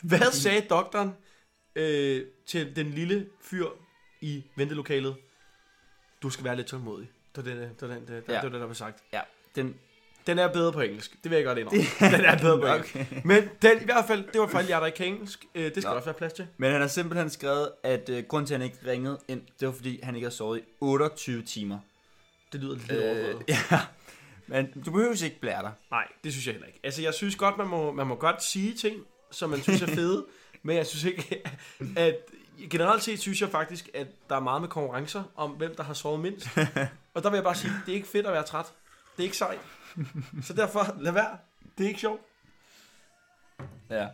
S2: Hvad sagde doktoren øh, til den lille fyr i ventelokalet? Du skal være lidt tålmodig. Det var den, øh, det var den, øh, det var
S3: Ja.
S2: den der blev sagt.
S3: Ja, den,
S2: Den er bedre på engelsk. Det vil jeg godt indrømme. Den er bedre på
S3: Nok.
S2: engelsk. Men den, i hvert fald, det var for alle jer, der ikke kan engelsk. Øh, det skal
S3: Nå.
S2: der også være plads til.
S3: Men han har simpelthen skrevet, at øh, grunden til, at han ikke ringede ind, det var, fordi han ikke har sovet i 28 timer.
S2: Det lyder lidt øh,
S3: Øh, ja. Men du behøver ikke blære dig.
S2: Nej, det synes jeg heller ikke. Altså, jeg synes godt, man må, man må godt sige ting, som man synes er fede, men jeg synes ikke, at... Generelt set synes jeg faktisk, at der er meget med konkurrencer om, hvem der har sovet mindst. Og der vil jeg bare sige, det er ikke fedt at være træt. Det er ikke sejt. Så derfor, lad være. Det er ikke sjovt.
S3: Ja.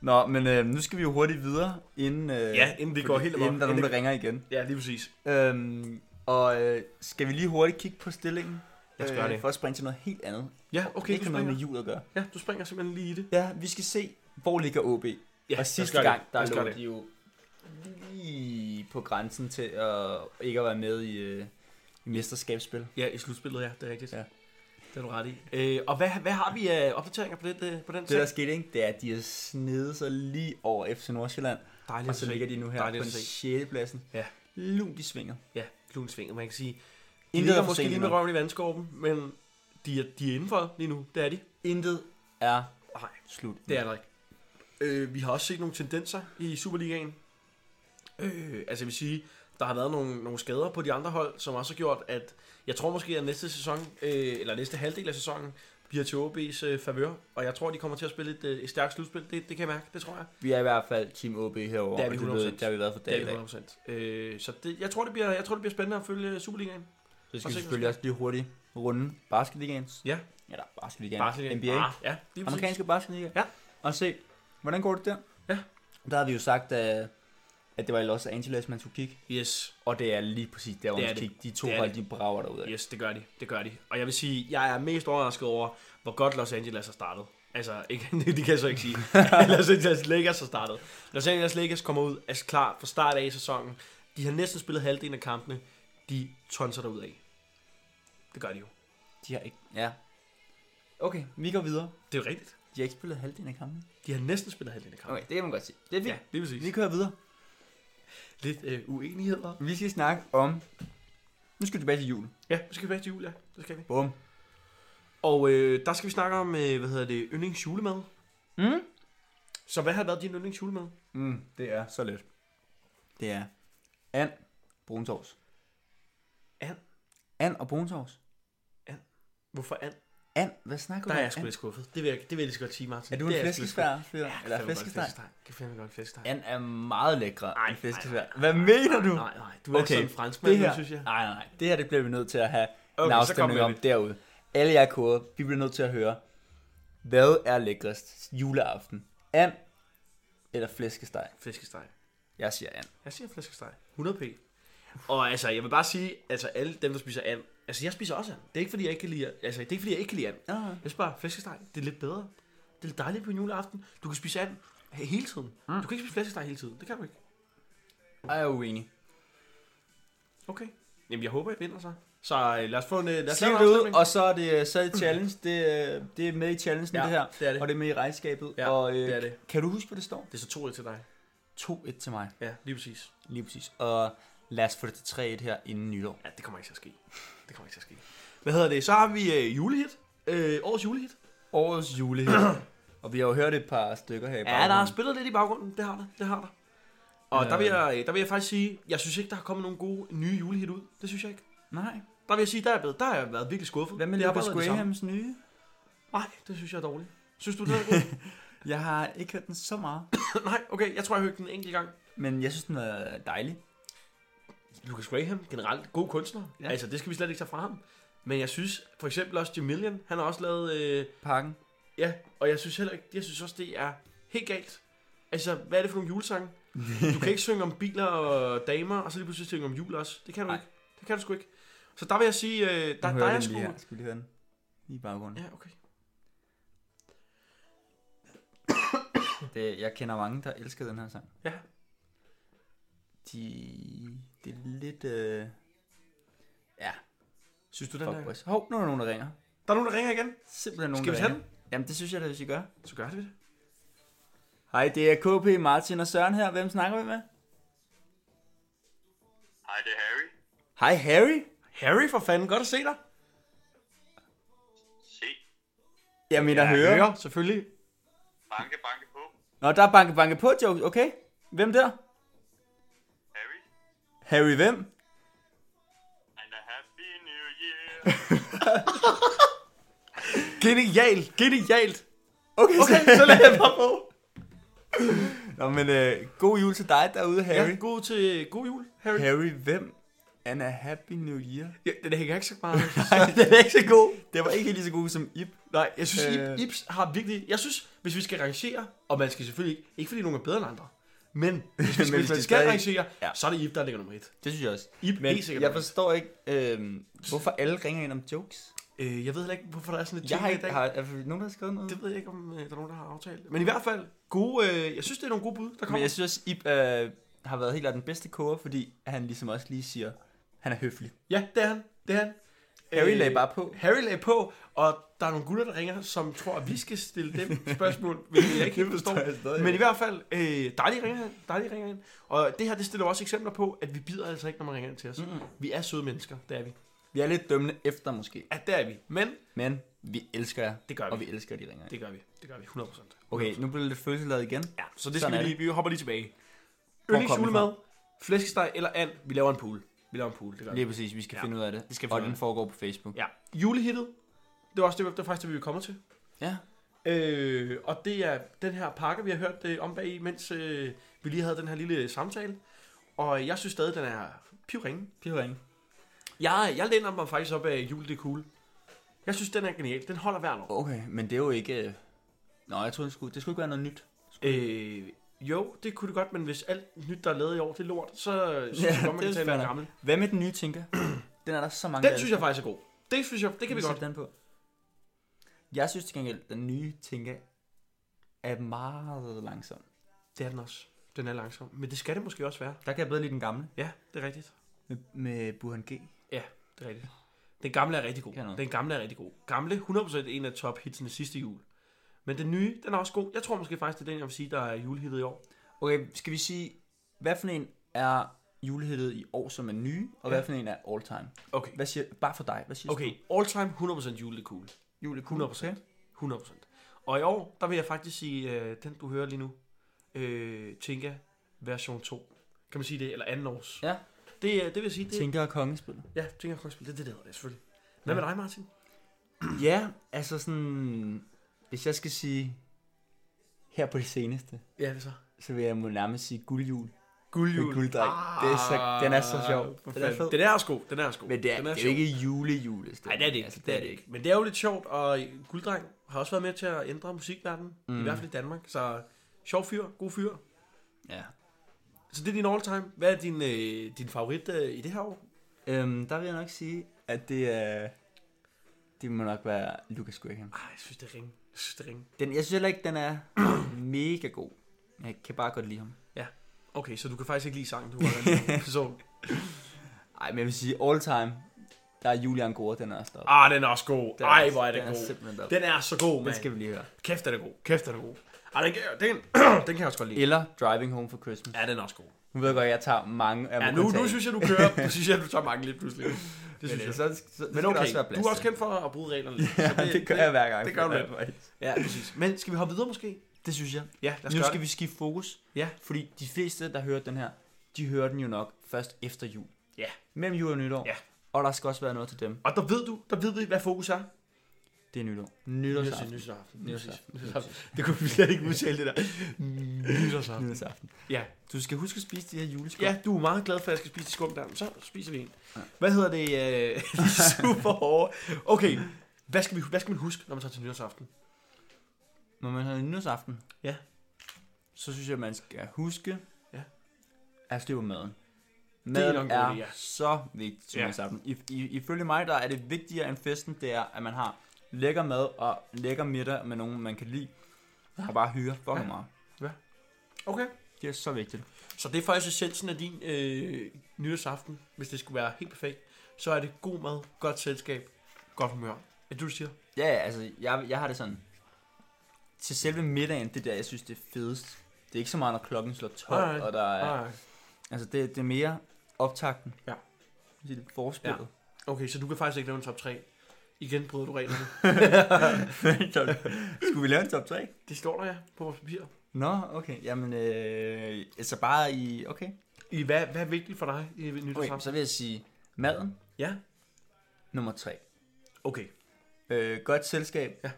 S3: Nå, men øh, nu skal vi jo hurtigt videre, inden, øh,
S2: Ja, inden vi går helt amok.
S3: inden der er nogen,
S2: Inden-
S3: der ringer igen.
S2: Ja, lige præcis.
S3: Øhm, og øh, skal vi lige hurtigt kigge på stillingen? Øh,
S2: Lad os gøre det.
S3: For at springe til noget helt andet.
S2: Ja, okay,
S3: ikke
S2: du
S3: har noget med
S2: springer.
S3: jul at gøre.
S2: Ja, du springer simpelthen lige i det.
S3: Ja, vi skal se, hvor ligger OB.
S2: Ja,
S3: og sidste gang, der lå de jo lige på grænsen til at ikke at være med i, øh, i mesterskabsspil.
S2: Ja, i slutspillet, ja, det er rigtigt.
S3: Ja.
S2: Ja. Det er du ret i. Øh, og hvad, hvad har vi af opdateringer på, det, øh, på den
S3: Det,
S2: sag?
S3: der skete, ikke, det er, at de har snedet sig lige over FC Nordsjælland,
S2: Dejligt
S3: og
S2: at
S3: så
S2: se.
S3: ligger de nu her på
S2: Dejligt
S3: den
S2: at se.
S3: 6. pladsen.
S2: Ja.
S3: Lunt i svinger.
S2: Ja, klunsvinget, man kan sige. De
S3: Intet er
S2: ligger
S3: for
S2: måske
S3: sent
S2: lige med
S3: endnu.
S2: røven i vandskorben, men de er, de er indenfor lige nu. Det er de.
S3: Intet er
S2: Nej,
S3: slut.
S2: det er der ikke. Øh, vi har også set nogle tendenser i Superligaen. Øh, altså jeg vil sige, der har været nogle, nogle skader på de andre hold, som også har gjort, at jeg tror måske, at næste sæson, øh, eller næste halvdel af sæsonen, bliver til OB's øh, favør. Og jeg tror, de kommer til at spille et, øh, et stærkt slutspil. Det, det kan jeg mærke, det tror jeg.
S3: Vi er i hvert fald Team OB herovre,
S2: Det er vi
S3: og det,
S2: 100%.
S3: ved, det har vi været for
S2: Det
S3: dag i
S2: er vi
S3: dag.
S2: 100%. Øh, så det, jeg, tror, det bliver, jeg tror, det bliver spændende at følge øh, Superligaen.
S3: Så
S2: Og
S3: skal vi
S2: så-
S3: selvfølgelig også lige hurtigt runde basketligaen.
S2: Ja,
S3: Eller basketligaen.
S2: Basketligaen.
S3: NBA.
S2: Ah, ja, det er præcis.
S3: Amerikanske basketliga.
S2: Ja.
S3: Og se, hvordan går det der?
S2: Ja.
S3: Der har vi jo sagt, at, at det var i Los Angeles, man skulle kigge.
S2: Yes.
S3: Og det er lige præcis der, hvor
S2: Det
S3: man
S2: er
S3: skal
S2: det.
S3: kigge. De to
S2: Det er
S3: hold,
S2: det.
S3: de brager derude.
S2: Yes, det gør de. Det gør de. Og jeg vil sige, jeg er mest overrasket over, hvor godt Los Angeles har startet. Altså, ikke, det kan jeg så ikke sige. Men Los Angeles Lakers har startet. Los Angeles Lakers kommer ud altså klart fra start af i sæsonen. De har næsten spillet halvdelen af kampene. De tonser derud af. Det gør de jo.
S3: De har ikke... Ja. Okay, vi går videre.
S2: Det er jo rigtigt.
S3: De har ikke spillet halvdelen af kampen.
S2: De har næsten spillet halvdelen af kampen.
S3: Okay, det kan man godt sige. Det er fint.
S2: Ja, det er præcis.
S3: Vi kører videre.
S2: Lidt øh, uenigheder.
S3: Vi skal snakke om... Nu skal vi tilbage til jul.
S2: Ja, så skal vi tilbage til jul, ja. Det skal vi.
S3: Bum.
S2: Og øh, der skal vi snakke om, øh, hvad hedder det, yndlingsjulemad. Hmm?
S3: Mm.
S2: Så hvad har været din yndlingsjulemad?
S3: Mm, det er så let. Det er and, brun sovs.
S2: And?
S3: And og brun sovs.
S2: Hvorfor and?
S3: And, hvad snakker
S2: Der
S3: du
S2: er
S3: om?
S2: jeg sgu
S3: and?
S2: lidt skuffet. Det vil jeg, det vil jeg lige så godt sige, Martin.
S3: Er du
S2: Det
S3: en
S2: jeg sgu lidt
S3: flæskesvær? fyr?
S2: skuffet. Ja,
S3: Eller flæskesteg?
S2: Jeg finder godt flæskesteg.
S3: And er meget lækre
S2: Ej,
S3: end flæskesvær.
S2: ej, ej,
S3: Hvad mener du?
S2: Nej, nej, du er okay. sådan en fransk
S3: det
S2: mand,
S3: her,
S2: synes jeg.
S3: Nej, nej, nej. Det her det bliver vi nødt til at have okay, en
S2: så kom
S3: afstemning
S2: med
S3: om
S2: det.
S3: derude. Alle jer koder, vi bliver nødt til at høre, hvad er lækrest juleaften? And eller flæskesteg?
S2: Flæskesteg.
S3: Jeg siger and.
S2: Jeg siger flæskesteg. 100 p. Og altså, jeg vil bare sige, altså alle dem, der spiser and, altså jeg spiser også and. Det er ikke fordi, jeg ikke kan lide, altså det er ikke fordi, jeg ikke kan lide and.
S3: Ah.
S2: Jeg synes bare, flæskesteg, det er lidt bedre. Det er lidt dejligt på en juleaften. Du kan spise and he- hele tiden. Mm. Du kan ikke spise flæskesteg hele tiden. Det kan du ikke.
S3: Jeg er uenig.
S2: Okay. Jamen, jeg håber, jeg vinder så. Så øh, lad os få en, øh, lad os
S3: Sliv
S2: lave en
S3: det ud,
S2: afstemning.
S3: og så er det, øh, så er det challenge. Det, øh, det er med i challengen,
S2: Ja,
S3: det her.
S2: det er det.
S3: Og det er med i regnskabet.
S2: Ja,
S3: og, øh,
S2: det er det.
S3: Kan du huske, hvad det står?
S2: Det er så 2 til dig.
S3: 2-1 til mig.
S2: Ja, lige præcis.
S3: Lige præcis. Og lad os få det til 3-1 her inden nytår.
S2: Ja, det kommer ikke til at ske. Det kommer ikke til at ske. Hvad hedder det? Så har vi øh, julehit. Øh, årets julehit.
S3: Årets jule Og vi har jo hørt et par stykker her i
S2: Ja, der har
S3: baggrunden.
S2: spillet lidt i baggrunden. Det har der. Det har der. Øh. Og
S3: Ja.
S2: der, vil jeg, der vil jeg faktisk sige, jeg synes ikke, der har kommet nogen gode nye julehit ud. Det synes jeg ikke.
S3: Nej.
S2: Der vil jeg sige, der er jeg blevet, der har jeg været virkelig skuffet.
S3: Hvad med
S2: Det har
S3: Lucas
S2: bare været det samme.
S3: Grahams nye?
S2: Nej, det synes jeg er dårligt. Synes du, det er god?
S3: Jeg har ikke hørt den så meget,
S2: Nej, okay, jeg tror, jeg hørte den en enkelt gang.
S3: men jeg synes, den er dejlig.
S2: Lucas Graham, generelt god kunstner.
S3: Ja.
S2: Ja. Altså, det skal vi slet ikke tage fra ham. Men jeg synes, for eksempel også Jamilian, han har også lavet... Øh,
S3: Pakken.
S2: ja, og jeg synes heller ikke, jeg synes også, det er helt galt. Altså, hvad er det for nogle julesange? Du kan ikke synge om biler og damer, og så lige pludselig synge om jul også. Det kan du
S3: Nej.
S2: Nej. ikke. Det kan du sgu ikke. Så der vil jeg sige, øh, der, der er jeg sgu...
S3: her. Skal vi lige høre den? Lige i baggrunden.
S2: Ja, okay.
S3: Det, jeg kender mange, der elsker den her sang.
S2: Ja.
S3: De... Det er lidt... Øh... Ja,
S2: Synes du, den
S3: fuck
S2: er...
S3: boys. Hov, nu er der nogen, der ringer.
S2: Der er nogen, der ringer igen.
S3: Simpelthen nogen,
S2: Skal vi
S3: der
S2: tage
S3: ringer. Jamen, det synes jeg da, hvis I gør.
S2: Så gør det.
S3: Hej, det er KP, Martin og Søren her. Hvem snakker vi med?
S4: Hej, det er Harry.
S3: Hej, Harry.
S2: Harry, for fanden. Godt at se dig.
S4: Se.
S3: Jeg mener,
S2: Jeg
S3: høre.
S2: hører, selvfølgelig.
S4: Banke, banke på.
S3: Nå, der er banke, banke på, jokes. Okay. Hvem der?
S4: Harry.
S3: Harry hvem?
S4: And a happy new year.
S2: Genialt. Genialt.
S3: Okay,
S2: Okay, så lad jeg bare på.
S3: Nå, men øh, god jul til dig derude, Harry.
S2: Ja, god, til, god jul, Harry.
S3: Harry, hvem? Anna, happy new year.
S2: Ja, den hænger ikke så meget.
S3: Nej, den er ikke så god. Det var ikke helt lige så god som Ip.
S2: Nej, jeg synes,
S3: Øh.
S2: øh... Ips har virkelig... Jeg synes, hvis vi skal rangere, og man skal selvfølgelig ikke... Ikke fordi nogen er bedre end andre, men hvis vi skal,
S3: Men
S2: hvis
S3: det er
S2: man skal
S3: stadig-
S2: rangere,
S3: Ja.
S2: ja. så er det Ip, der ligger nummer et.
S3: Det synes jeg også.
S2: Ip,
S3: Men
S2: helt sikkert.
S3: jeg
S2: nummer
S3: forstår ikke, øh, hvorfor alle ringer ind om jokes.
S2: et. øh, jeg ved heller ikke, hvorfor der er sådan
S3: Jeg
S2: et ting
S3: har
S2: i
S3: ikke,
S2: dag.
S3: har, er der nogen, der har skrevet noget?
S2: Det ved jeg ikke, om øh, der er nogen, der har aftalt. Men i hvert fald, gode, øh, jeg synes, det er nogle gode bud, der
S3: Men
S2: kommer.
S3: jeg synes også, Ip øh, har været helt af den bedste koger, fordi han ligesom også lige siger, han er høflig.
S2: Ja, det er han. Det er han. Øh,
S3: Harry lagde bare på.
S2: Harry lagde på, og der er nogle gutter, der ringer, som tror, at vi skal stille dem spørgsmål, hvilket jeg ikke helt forstår.
S3: jeg stadig
S2: Men i
S3: ikke.
S2: hvert fald, øh, dejlige ringer ind, dejlige ringer ind. Og det her, det stiller også eksempler på, at vi bider altså ikke, når man ringer ind til os. Mm. Vi er søde mennesker, det er vi.
S3: Vi er lidt dømmende efter måske,
S2: Ja, det er vi. Men
S3: men vi elsker jer.
S2: Det gør vi.
S3: Og vi elsker, at de ringer ind.
S2: det gør vi. Det gør vi 100%.
S3: Okay, nu bliver det lidt følelsesladet igen.
S2: Ja, så det skal
S3: Sådan er
S2: vi lige, vi hopper lige tilbage.
S3: kom vi fra?
S2: Yndlingsjulemad, flæskesteg eller and. Vi laver en pool. Vi laver en pool, det gør vi.
S3: Lige præcis, vi skal ja.
S2: Ja,
S3: finde ud af det. det
S2: skal vi
S3: og
S2: finde ud
S3: den
S2: af.
S3: foregår på Facebook.
S2: Ja. Julehittet, det var også det, det var faktisk det, vi kommer til.
S3: ja.
S2: Øh, og det er den her pakke, vi har hørt øh, om bag i, mens øh, vi lige havde den her lille øh, samtale. Og jeg synes stadig, den er pivringe.
S3: Pivring.
S2: Jeg, jeg læner mig faktisk op af Jul, det er cool. Jeg synes, den er genial. Den holder hvert år.
S3: Okay, men det er jo ikke... øh, Nå, jeg troede, det skulle, det skulle ikke være noget nyt.
S2: Øh, jo, det kunne det godt, men hvis alt nyt, der er lavet i år, det er lort, så øh, synes ja, jeg godt, man
S3: det er
S2: kan tage den
S3: fair nok.
S2: gammel.
S3: Hvad med den nye, tænker? Den er der så mange,
S2: Den synes jeg faktisk er god. Det synes jeg, det kan vi godt.
S3: den på. Jeg synes til gengæld, den nye Tinka er meget langsom.
S2: Det er den også. Den er langsom. Men det skal det måske også være.
S3: Der kan jeg bedre lide den gamle.
S2: Ja, det er rigtigt.
S3: Med, med Burhan G.
S2: Ja, det er rigtigt. Den gamle er rigtig god.
S3: Kan noget.
S2: Den gamle er rigtig god. Gamle, 100% en af top hitsene sidste jul. Men den nye, den er også god. Jeg tror måske faktisk, det er den, jeg vil sige, der er julehittet i år.
S3: Okay, skal vi sige, hvad for en er julehittet i år, som er nye, og ja. hvad for en er all time?
S2: Okay.
S3: Hvad siger, bare for dig, hvad siger
S2: Okay, all time 100% jule, det er cool.
S3: du? Jule
S2: 100%. 100%. Og i år, der vil jeg faktisk sige, øh, den du hører lige nu, øh, Tinka version 2. Kan man sige det? Eller anden års.
S3: Ja.
S2: Det, øh, det vil sige, det,
S3: Tinker og kongespil.
S2: ja, Tinka Krogspil, det er det, der hedder det selvfølgelig. Hvad med dig, Martin?
S3: Ja, altså sådan... Hvis jeg skal sige her på det seneste,
S2: Ja, det så.
S3: så vil jeg må nærmest sige guldjul. Guldjul. Gulddreng. Ah, det er så, den er så sjov. Den er fed.
S2: Ah, Den er også god, den er også god.
S3: Men det er,
S2: den
S3: det er jo
S2: sjov.
S3: ikke julejule.
S2: Nej, det er det ikke. Altså, det er det ikke. Men det er jo lidt sjovt, og Gulddreng har også været med til at ændre musikverdenen, mm. i hvert fald i Danmark. Så sjov fyr, god fyr.
S3: Ja.
S2: Så det er din all-time. Hvad er din, øh, din favorit øh, i det her år?
S3: Øhm, der vil jeg nok sige, at det er... Det må nok være Lucas Graham.
S2: Ej, jeg synes, det er ringe. Jeg synes, det er ringe.
S3: Den, jeg synes heller ikke, den er mega god. Men Jeg kan bare godt lide ham.
S2: Ja. Okay, så du kan faktisk ikke lide sangen, du har en person.
S3: Ej, men jeg vil sige, all time, der er Julian Gore, den er også deroppe.
S2: Ah, den er også god.
S3: Den er
S2: Ej,
S3: også-
S2: hvor er den,
S3: den er simpelthen
S2: god.
S3: deroppe.
S2: Den er så god,
S3: Den
S2: mand.
S3: skal vi lige høre.
S2: Kæft, den er god. Kæft, den er god. Ej, den, kan, den, den kan jeg også godt lide.
S3: Eller Driving Home for Christmas.
S2: Ja, den er også god.
S3: Nu ved jeg godt, at jeg tager mange af
S2: Ja, nu, nu synes jeg, du kører. Nu synes jeg, du tager mange lige pludselig. Det synes jeg.
S3: Så, så, så
S2: Men
S3: skal der
S2: okay,
S3: også være plads
S2: du er også
S3: til.
S2: kendt for at bruge reglerne lidt. så
S3: Ja, det gør jeg hver gang.
S2: Det gør du lidt.
S3: lidt.
S2: Ja, præcis. Men skal vi hoppe videre måske?
S3: Det synes jeg.
S2: Ja, lad os
S3: Nu
S2: gøre
S3: skal
S2: det.
S3: vi skifte fokus,
S2: Ja.
S3: fordi de fleste, der hører den her, de hører den jo nok først efter jul.
S2: Ja.
S3: Mellem jul og nytår.
S2: Ja.
S3: Og der skal også være noget til dem.
S2: Og der ved du, der ved vi, hvad fokus er.
S3: Det er nytår.
S2: Nytårsaften.
S3: Nytårsaften.
S2: Nytårsaften. Nytårsaften. Nytårsaften. Det kunne vi slet ikke udtale det der. Nytårsaften.
S3: Nytårsaften.
S2: Ja.
S3: Du skal huske at spise de her juleskum.
S2: Ja, du er meget glad for, at jeg skal spise de skum der. Men Så spiser vi en. Hvad hedder det? øh, de er super hårde. Okay, hvad skal, vi, hvad skal man huske, når man tager til nytårsaften?
S3: Når man har nytårsaften,
S2: Ja.
S3: så synes jeg, at man skal huske
S2: Ja.
S3: at have styr på maden.
S2: er nok
S3: Maden
S2: en
S3: er,
S2: god
S3: er
S2: idé, ja.
S3: så vigtig til
S2: Ja.
S3: nytårsaften. I, i, ifølge mig der er det vigtigere end festen, det er, at man har lækker mad og lækker middag med nogen, man kan lide. Og bare hygge fucking
S2: Ja.
S3: ja. meget.
S2: Okay.
S3: Det er så vigtigt.
S2: Så det er faktisk essensen af din øh, nytårsaften, hvis det skulle være helt perfekt. Så er det god mad, godt selskab, godt humør. Er det, du siger?
S3: Ja, ja, altså, jeg, jeg har det sådan. Til selve middagen, det er der, jeg synes, det er fedest. Det er ikke så meget, når klokken slår 12,
S2: Nej,
S3: og der er...
S2: Nej.
S3: Altså, det, det er mere optakten.
S2: Ja.
S3: Det er det forspillet.
S2: Okay, så du kan faktisk ikke lave en top 3. Igen bryder du reglerne.
S3: Skulle vi lave en top 3?
S2: Det står der, ja, på vores papir.
S3: Nå, okay. Jamen, øh, altså bare i... Okay.
S2: I, hvad, hvad er vigtigt for dig i
S3: okay.
S2: nytårsaften?
S3: Så vil jeg sige maden,
S2: Ja,
S3: nummer 3.
S2: okay.
S3: Øh, godt selskab,
S2: Ja.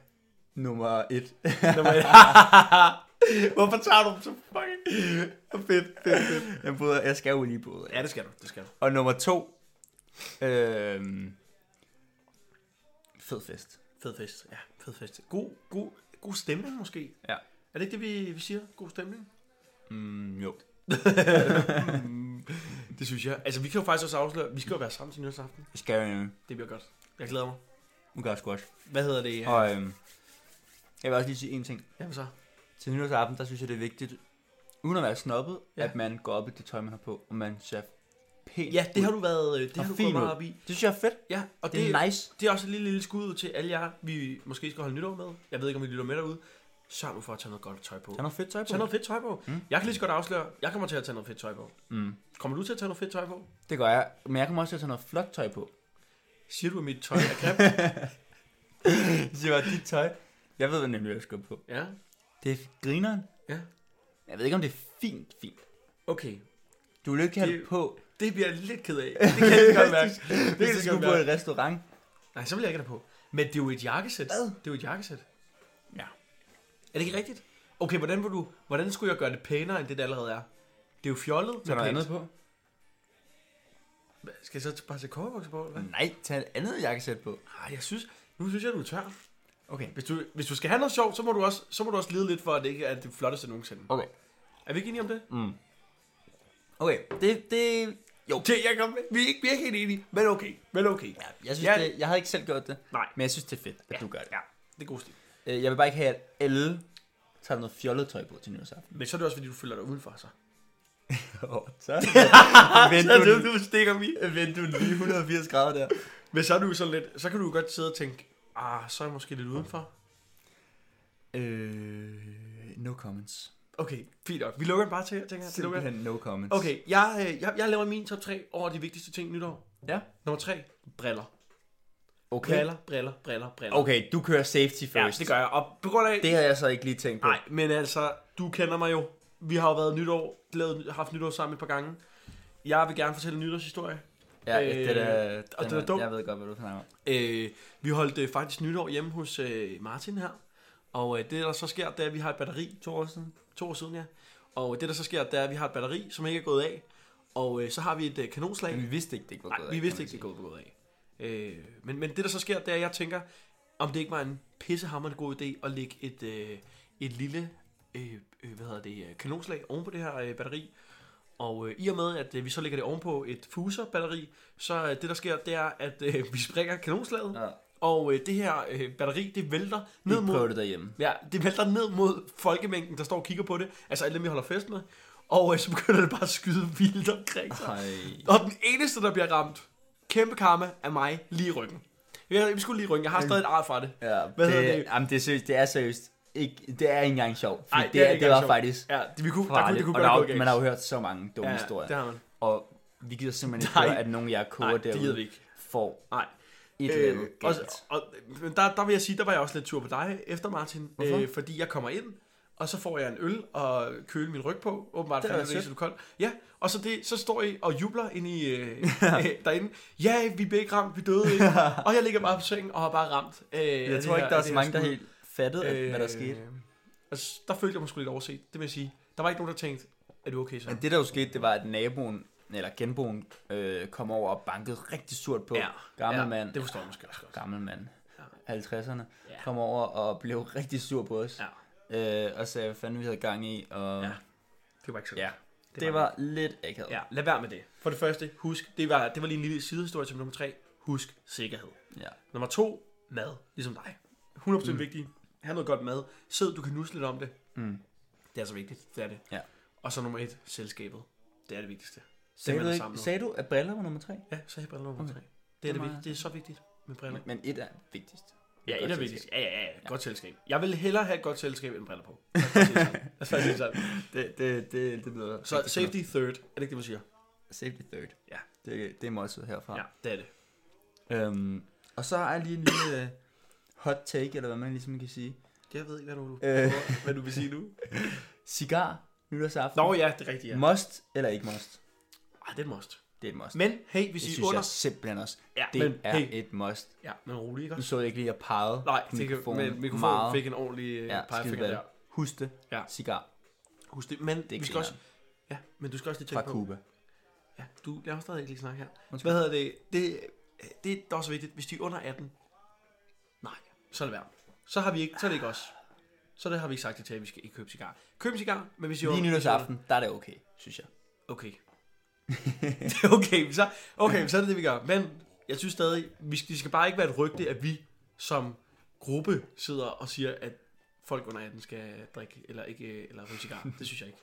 S3: nummer 1.
S2: Nummer et. Hvorfor tager du dem så fucking... fedt, fedt, fedt.
S3: jeg, bryder, jeg skal jo lige bryde.
S2: Ja, det skal du, det skal du.
S3: Og nummer 2. Øh, fed fest.
S2: Fed fest, ja, fed fest. God, god, god stemning måske.
S3: Ja.
S2: Er det ikke det, vi, vi siger? God stemning?
S3: Mm, jo.
S2: Det synes jeg. Altså, vi kan jo faktisk også afsløre, vi skal jo være sammen til nytårsaften.
S3: Det skal jeg jo.
S2: Det bliver godt. Jeg glæder mig.
S3: Nu gør jeg squash.
S2: Hvad hedder det?
S3: Og øh, jeg vil også lige sige en ting.
S2: Jamen så.
S3: Til nytårsaften, der synes jeg, det er vigtigt, uden at være snobbet,
S2: Ja.
S3: ja. at man går op i det tøj, man har på, og man ser pænt
S2: Ja, det har
S3: ud.
S2: du været, øh, det
S3: Og
S2: har du gået
S3: fint ud.
S2: meget op i.
S3: Det synes jeg er fedt.
S2: Ja, og
S3: Det er nice.
S2: Det er også et lille, lille skud ud til alle jer, vi måske skal holde nytår med. Jeg ved ikke, om I lytter med derude. Sørg nu for at tage noget godt tøj på.
S3: Han har fedt tøj på.
S2: Tag noget fedt tøj på. Mm. Jeg kan lige så godt afsløre, jeg kommer til at tage noget fedt tøj på.
S3: Mm.
S2: Kommer du til at tage noget fedt tøj på?
S3: Det gør jeg. Men jeg kommer også til at tage noget flot tøj på.
S2: Siger du, at mit tøj er grimt?
S3: Så det var dit tøj. Jeg ved, hvad nemlig jeg skal på.
S2: ja.
S3: Det er grineren.
S2: Ja.
S3: Jeg ved ikke, om det er fint, fint.
S2: Okay.
S3: Du vil jo ikke have
S2: Det-
S3: det på,
S2: Det bliver jeg lidt ked af. Det kan jeg godt mærke.
S3: hvis
S2: Det kan
S3: du
S2: jeg godt
S3: skulle på
S2: mærke.
S3: et restaurant.
S2: Nej, så vil jeg ikke have det på. Men det er jo et jakkesæt.
S3: Hvad?
S2: Det er jo et jakkesæt.
S3: Ja.
S2: Er det ikke rigtigt? Okay, hvordan, vil du, hvordan skulle jeg gøre det pænere, end det, det allerede er? Det er jo fjollet.
S3: Tag noget andet på.
S2: Hvad, Skal jeg så bare tage kobberbukser på? Eller hvad?
S3: Nej, tag et andet jakkesæt på.
S2: Nej, jeg synes, nu synes jeg, du er tør.
S3: Okay.
S2: Hvis du, hvis du skal have noget sjovt, så må du også, så må du også lide lidt for, at det ikke er det flotteste nogensinde.
S3: Okay.
S2: Er vi ikke enige om det?
S3: Okay, det, det, jo.
S2: Det, jeg kom med. Vi er ikke, vi er ikke helt enige, men okay. Men okay.
S3: Jeg synes,
S2: Ja.
S3: det, jeg havde ikke selv gjort det.
S2: Nej.
S3: Men jeg synes, det er fedt, at du gør det. Ja.
S2: Det er god stil.
S3: Øh, Jeg vil bare ikke have, at alle tager noget fjollet tøj på til nytårsaften.
S2: Men så er det også, fordi du føler dig udenfor, så.
S3: Åh, så
S2: Så er
S3: vent
S2: det,
S3: du,
S2: du stikker mig.
S3: vent du lige 180 grader der.
S2: Men så er du jo sådan lidt, så kan du jo godt sidde og tænke, ah, så er jeg måske lidt udenfor.
S3: Øh, no comments.
S2: Okay, fint nok. Vi lukker den bare til, tænker jeg. Vi lukker den.
S3: Simpelthen no comments.
S2: Okay, jeg, øh, jeg, jeg laver min top 3 over de vigtigste ting nytår.
S3: Ja.
S2: Nummer 3, briller.
S3: Okay.
S2: Briller, briller, briller, briller.
S3: Okay, du kører safety
S2: ja,
S3: first.
S2: det gør jeg. Og på grund af...
S3: Det havde jeg så ikke lige tænkt på.
S2: Nej, men altså, du kender mig jo. Vi har jo været nytår, lavet, haft nytår sammen et par gange. Jeg vil gerne fortælle en nytårshistorie.
S3: Ja,
S2: Øh,
S3: øh, det er,
S2: og
S3: den
S2: det er dumt.
S3: Jeg ved godt, hvad du snakker om.
S2: Øh, vi holdt øh, faktisk nytår hjemme hos øh, Martin her. Og øh, det, der så sker, det er, at vi har et batteri. To år siden. To år siden, ja. Og øh, det, der så sker, det er, at vi har et batteri, som ikke er gået af. Og øh, så har vi et øh, kanonslag.
S3: Men vi vidste ikke, det ikke var
S2: Nej,
S3: gået
S2: vi vidste ikke, det gået på gået af. Øh, men, men det, der så sker, det er, at jeg tænker, om det ikke var en pissehammerende god idé at lægge et, øh, et lille øh, øh, hvad hedder det, øh, kanonslag oven på det her øh, batteri. Og øh, i og med, at øh, vi så lægger det oven på et fuserbatteri, så øh, det, der sker, det er, at øh, vi sprænger kanonslaget.
S3: Ja.
S2: Og øh, det her øh, batteri, det vælter ned
S3: Vi
S2: mod
S3: prøvede det derhjemme.
S2: Ja, det vælter ned mod folkemængden, der står og kigger på det. Altså alle dem, vi holder fest med. Og øh, så begynder det bare at skyde vildt omkring sig.
S3: Ej.
S2: Og den eneste, der bliver ramt, kæmpe karma, er mig lige i ryggen. Jeg, vi skulle lige i ryggen. Jeg har stadig et ar fra det.
S3: Ja,
S2: Hvad hedder
S3: det,
S2: det?
S3: Jamen, det er seriøst. Det er seriøst. Ikke, det er ikke engang sjovt.
S2: Ej,
S3: Ej,
S2: det
S3: det,
S2: er
S3: det,
S2: ikke
S3: er, det var
S2: engang sjovt.
S3: faktisk
S2: Ja, det, vi kunne, der, kunne,
S3: farligt.
S2: det kunne
S3: og der
S2: godt
S3: er
S2: gå
S3: jo-
S2: galt.
S3: man har jo hørt så mange dumme
S2: ja,
S3: historier.
S2: det har man.
S3: Og vi gider simpelthen ikke
S2: Nej.
S3: høre, at nogen jeg koger
S2: Nej, det gider vi
S3: derude
S2: ikke.
S3: får
S2: Nej.
S3: et eller
S2: Øh,
S3: andet
S2: og,
S3: galt.
S2: og, men der, der vil jeg sige, der var jeg også lidt tur på dig efter, Martin.
S3: Hvorfor?
S2: Øh, fordi jeg kommer ind, og så får jeg en øl og køle min ryg på. Åbenbart,
S3: Det
S2: fordi
S3: er
S2: jeg
S3: sødt.
S2: er du kold. Ja, og så, det, så står I og jubler ind i, øh, øh, derinde. Ja, vi blev ikke ramt, vi døde ikke. og jeg ligger bare på sengen og har bare ramt. Øh,
S3: Jeg tror ikke, der er så mange, der helt fattede, at- hvad der skete.
S2: Altså, der følte jeg mig sgu lidt overset, det vil jeg sige. Der var ikke nogen, der tænkte, er du okay så?
S3: Men det, der jo skete, det var, at naboen, eller genboen, øh, kom over og bankede rigtig surt på. Gammel mand.
S2: Det forstår jeg måske også godt.
S3: gammel mand,
S2: Ja.
S3: 50'erne, kom over og blev rigtig sur på os. Øh, og sagde, hvad fanden vi havde gang i. Og
S2: Ja. Det var ikke så godt.
S3: ja.
S2: Det
S3: Det,
S2: var
S3: var, lidt akavet.
S2: Ja, lad være med det. For det første, husk, det var, det var lige en lille sidehistorie til nummer tre. Husk sikkerhed.
S3: Ja.
S2: Nummer to, mad. Ligesom dig. 100% mm. vigtigt. Ha' noget godt mad. Sid, du kan nusse lidt om det.
S3: Mm.
S2: Det er så vigtigt. Det er det.
S3: Ja.
S2: Og så nummer et, selskabet. Det er det vigtigste.
S3: Sagde,
S2: man
S3: du
S2: er
S3: ikke,
S2: sammen nu.
S3: sagde du, at briller var nummer tre?
S2: Ja, så er briller nummer okay.
S3: Okay.
S2: tre. Det er,
S3: Det
S2: det,
S3: er
S2: vigt- det er så vigtigt med briller.
S3: Men, men et er vigtigst.
S2: Ja,
S3: Godt
S2: et er
S3: selskab.
S2: vigtigt. Ja, ja, ja. Godt selskab. Jeg vil hellere have et godt selskab end briller på. Lad os bare sige det sådan. Lad os bare sige det sådan.
S3: Det, det, det, det lyder...
S2: Så
S3: rigtig
S2: safety third. Er det ikke det, man siger?
S3: fornuftigt. Safety third.
S2: Ja.
S3: Det, det er måltid herfra.
S2: Ja, det er det.
S3: Øhm, og så er lige en lille øh, hot take, eller hvad man ligesom kan sige.
S2: Jeg ved ikke, hvad du,
S3: Øh.
S2: hvad du vil sige nu.
S3: Cigar, nytårsaften.
S2: Nå ja, det er rigtigt, ja.
S3: Must eller ikke must?
S2: Ej, det er et must.
S3: Det er et must.
S2: Men hey, hvis
S3: det
S2: I
S3: synes
S2: under...
S3: jeg simpelthen også.
S2: Ja,
S3: Det
S2: men
S3: er
S2: hey.
S3: et must.
S2: Ja, men rolig, ikke
S3: Nu
S2: også?
S3: så jeg ikke lige, at jeg pegede
S2: Nej,
S3: på
S2: det kan,
S3: mikrofonen
S2: men mikrofonen meget. fik en ordentlig øh,
S3: ja,
S2: ja, pegefinger der.
S3: Husk det.
S2: Ja.
S3: Cigar
S2: Husk det. Men, det vi skal
S3: grineren.
S2: også, ja, men du skal også lige
S3: fra
S2: tænke på...
S3: Cuba.
S2: Ja, du laver stadig ikke lige snakke her.
S3: Undskyld.
S2: Hvad hedder det? Det, det er også vigtigt. Hvis de er under 18, nej, så lad være. Så har vi ikke, så er det ikke os. Så det har vi ikke sagt det til, at vi skal ikke købe cigar. Køb en cigar, men hvis I er
S3: Lige
S2: under-
S3: nytårsaften, der er det okay, synes jeg.
S2: Okay. Det er okay, men så, okay, men så er det det, vi gør. Men jeg synes stadig, vi skal, det skal bare ikke være et rygte, at vi som gruppe sidder og siger, at folk under 18 skal drikke eller ikke øh, eller ryge cigar. Det synes jeg ikke.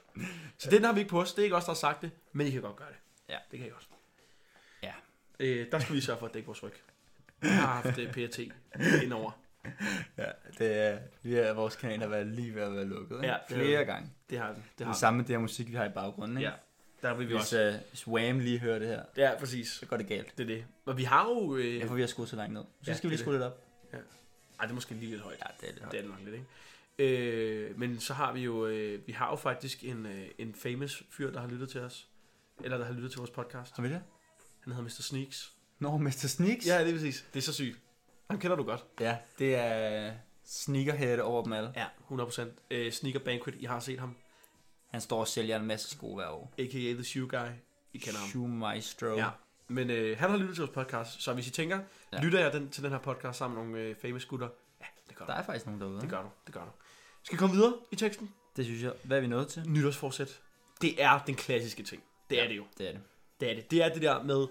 S2: Så den har vi ikke på os. Det er ikke os, der har sagt det, men I kan godt gøre det.
S3: Ja.
S2: Det kan I godt.
S3: Ja.
S2: Øh, der skal vi sørge for at dække vores ryg. Jeg har haft øh, PRT indover.
S3: Ja, det er, vi er, vores kanal har været lige ved at være lukket.
S2: Ja,
S3: Ja,
S2: det er
S3: flere
S2: det.
S3: gange.
S2: Det har vi. Det
S3: Det
S2: har
S3: samme med det her musik, vi har i baggrunden.
S2: vi.
S3: Ikke?
S2: Ja, der vil vi
S3: Hvis,
S2: også.
S3: uh, hvis Wham lige hører det her,
S2: Ja, præcis.
S3: så går det galt.
S2: Det er det. Og vi har jo... Øh,
S3: Ja, for vi har skruet så langt ned. Så skal
S2: Ja,
S3: vi
S2: det er
S3: lige skrue lidt op.
S2: Ej, det er måske lige lidt højt.
S3: Ja, det er lidt
S2: Det er det nok lidt, ikke? Øh, men så har vi jo, øh, vi har jo faktisk en, øh, en famous fyr, der har lyttet til os. Eller der har lyttet til vores podcast.
S3: Har vi det?
S2: Han hedder Mr. Sneaks.
S3: Nå, Mr. Sneaks.
S2: Ja, det er præcis. Det er så sygt. Han kender du godt.
S3: ja det er sneakerhead over dem alle.
S2: Ja, 100%. Øh, Sneaker Banquet, I har set ham.
S3: Han står og sælger en masse sko hver år.
S2: A.k.a. The Shoe Guy. I kender ham.
S3: Shoe Maestro.
S2: Ja. Men øh, han har lyttet til vores podcast, så hvis I tænker, ja.
S3: Ja.
S2: lytter jeg den, til den her podcast sammen med nogle øh, famous gutter? Ja, det gør du.
S3: Der er faktisk nogen derude.
S2: Det gør du. Det gør du. Skal vi komme videre i teksten?
S3: Det synes jeg. Hvad er vi nået til?
S2: Nytårsforsæt. Det er den klassiske ting. Det ja. er det jo.
S3: Det er det.
S2: Det er det. Det er det der med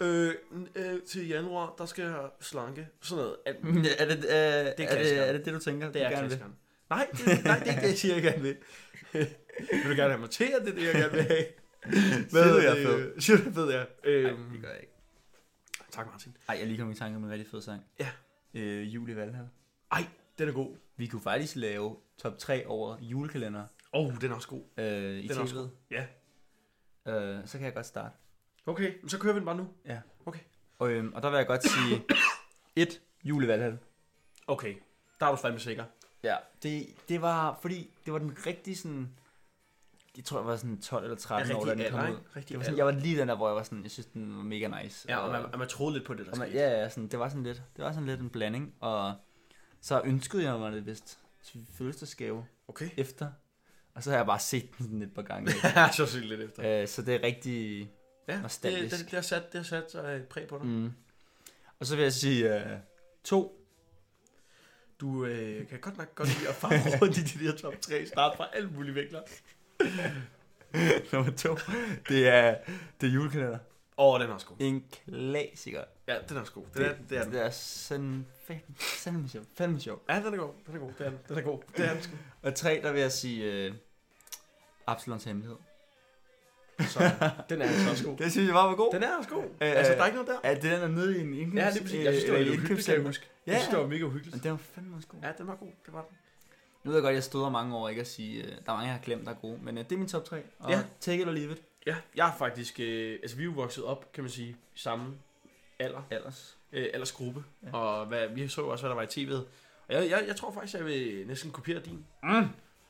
S2: Øh, n- øh, til januar, der skal jeg slanke. Sådan noget. Alt-
S3: Er det, øh, det er, er,
S2: klassikeren.
S3: det, er det det, du tænker?
S2: Det er
S3: du gerne vil?
S2: klassikeren. Nej, det, nej, det er ikke det, jeg siger, jeg gerne vil. vil du gerne have mig til, at det er det, jeg gerne vil have?
S3: Siger du, øh,
S2: hedder
S3: jeg er
S2: det? Siger du, jeg er fed, ja.
S3: Nej, det
S2: Øhm,
S3: gør jeg ikke.
S2: tak, Martin.
S3: Ej, jeg lige kom i tanke om en rigtig fed sang.
S2: Ja.
S3: Øh, jul i Valhall.
S2: Ej, den er god.
S3: Vi kunne faktisk lave top 3 over julekalender
S2: Åh, oh, den er også god.
S3: øh, i
S2: Den er også
S3: TV'et.
S2: god. Ja.
S3: Øh, så kan jeg godt starte.
S2: Okay, men så kører vi den bare nu.
S3: Ja.
S2: Okay.
S3: Og, øhm, og der vil jeg godt sige 1. Jul i Valhall.
S2: Okay, der er du fandme sikker.
S3: Ja. Det, det var, fordi det var den rigtige sådan... Jeg tror, jeg var sådan 12 eller 13
S2: Ja,
S3: år, da
S2: rigtig
S3: den kom
S2: alder,
S3: ud.
S2: ikke? Rigtig
S3: Det var sådan,
S2: alder.
S3: jeg var lige den der, hvor jeg var sådan, jeg synes, den var mega nice.
S2: Ja,
S3: og,
S2: og man, og man troede lidt på det, der
S3: og man,
S2: skete.
S3: ja, ja, sådan, det var sådan lidt, det var sådan lidt en blanding, og så ønskede jeg mig det vist til fødselsdagsgave
S2: Okay.
S3: efter, og så har jeg bare set den sådan et par gange.
S2: Ja, så sygt lidt efter.
S3: øh, så det er rigtig,
S2: Ja, det, det,
S3: nostalgisk.
S2: det, har sat, det har sat sig øh, præg på dig. Mm.
S3: mm. Og så vil jeg sige, øh, to,
S2: Du øh, kan godt nok godt lide at fare rundt i de der top 3, start fra alle mulige vinkler.
S3: nummer to, det er, det er julekalender.
S2: Åh, oh, den er også god.
S3: En klassiker. Altså,
S2: Ja, den er også god. Den er, det er den.
S3: det er sådan fandme, fandme sjov. Fandme sjov.
S2: Ja, den er god. Den er god. Den er, den. den er god. Det er den sgu.
S3: Og tre, der vil jeg sige, øh, Absalons hemmelighed.
S2: Så, den er altså også god.
S3: Det synes jeg bare var god.
S2: Den er også god.
S3: Øh,
S2: altså, der er ikke noget der.
S3: Ja, det er den der nede i en indkøbs...
S2: Ja, lige præcis. Jeg synes, det var
S3: øh,
S2: lidt uhyggeligt, kan jeg
S3: indkøbscenter.
S2: huske.
S3: Ja,
S2: Jeg synes, det var mega uhyggeligt.
S3: Men det var fandme også god.
S2: Ja, den var god. Det var den.
S3: Nu ved jeg godt, jeg stod mange år ikke at sige, øh, der er mange, jeg har glemt, der er gode. Men øh, det er min top 3. Og
S2: Ja.
S3: take it or leave it.
S2: Ja, jeg er faktisk... Øh, altså, vi er jo vokset op, kan man sige, i samme alder.
S3: Ellers.
S2: øh, aldersgruppe,
S3: Ja.
S2: ja. og hvad, vi så jo også, hvad der var i tv'et. Og jeg, jeg, jeg tror faktisk, jeg vil næsten kopiere din. Mm.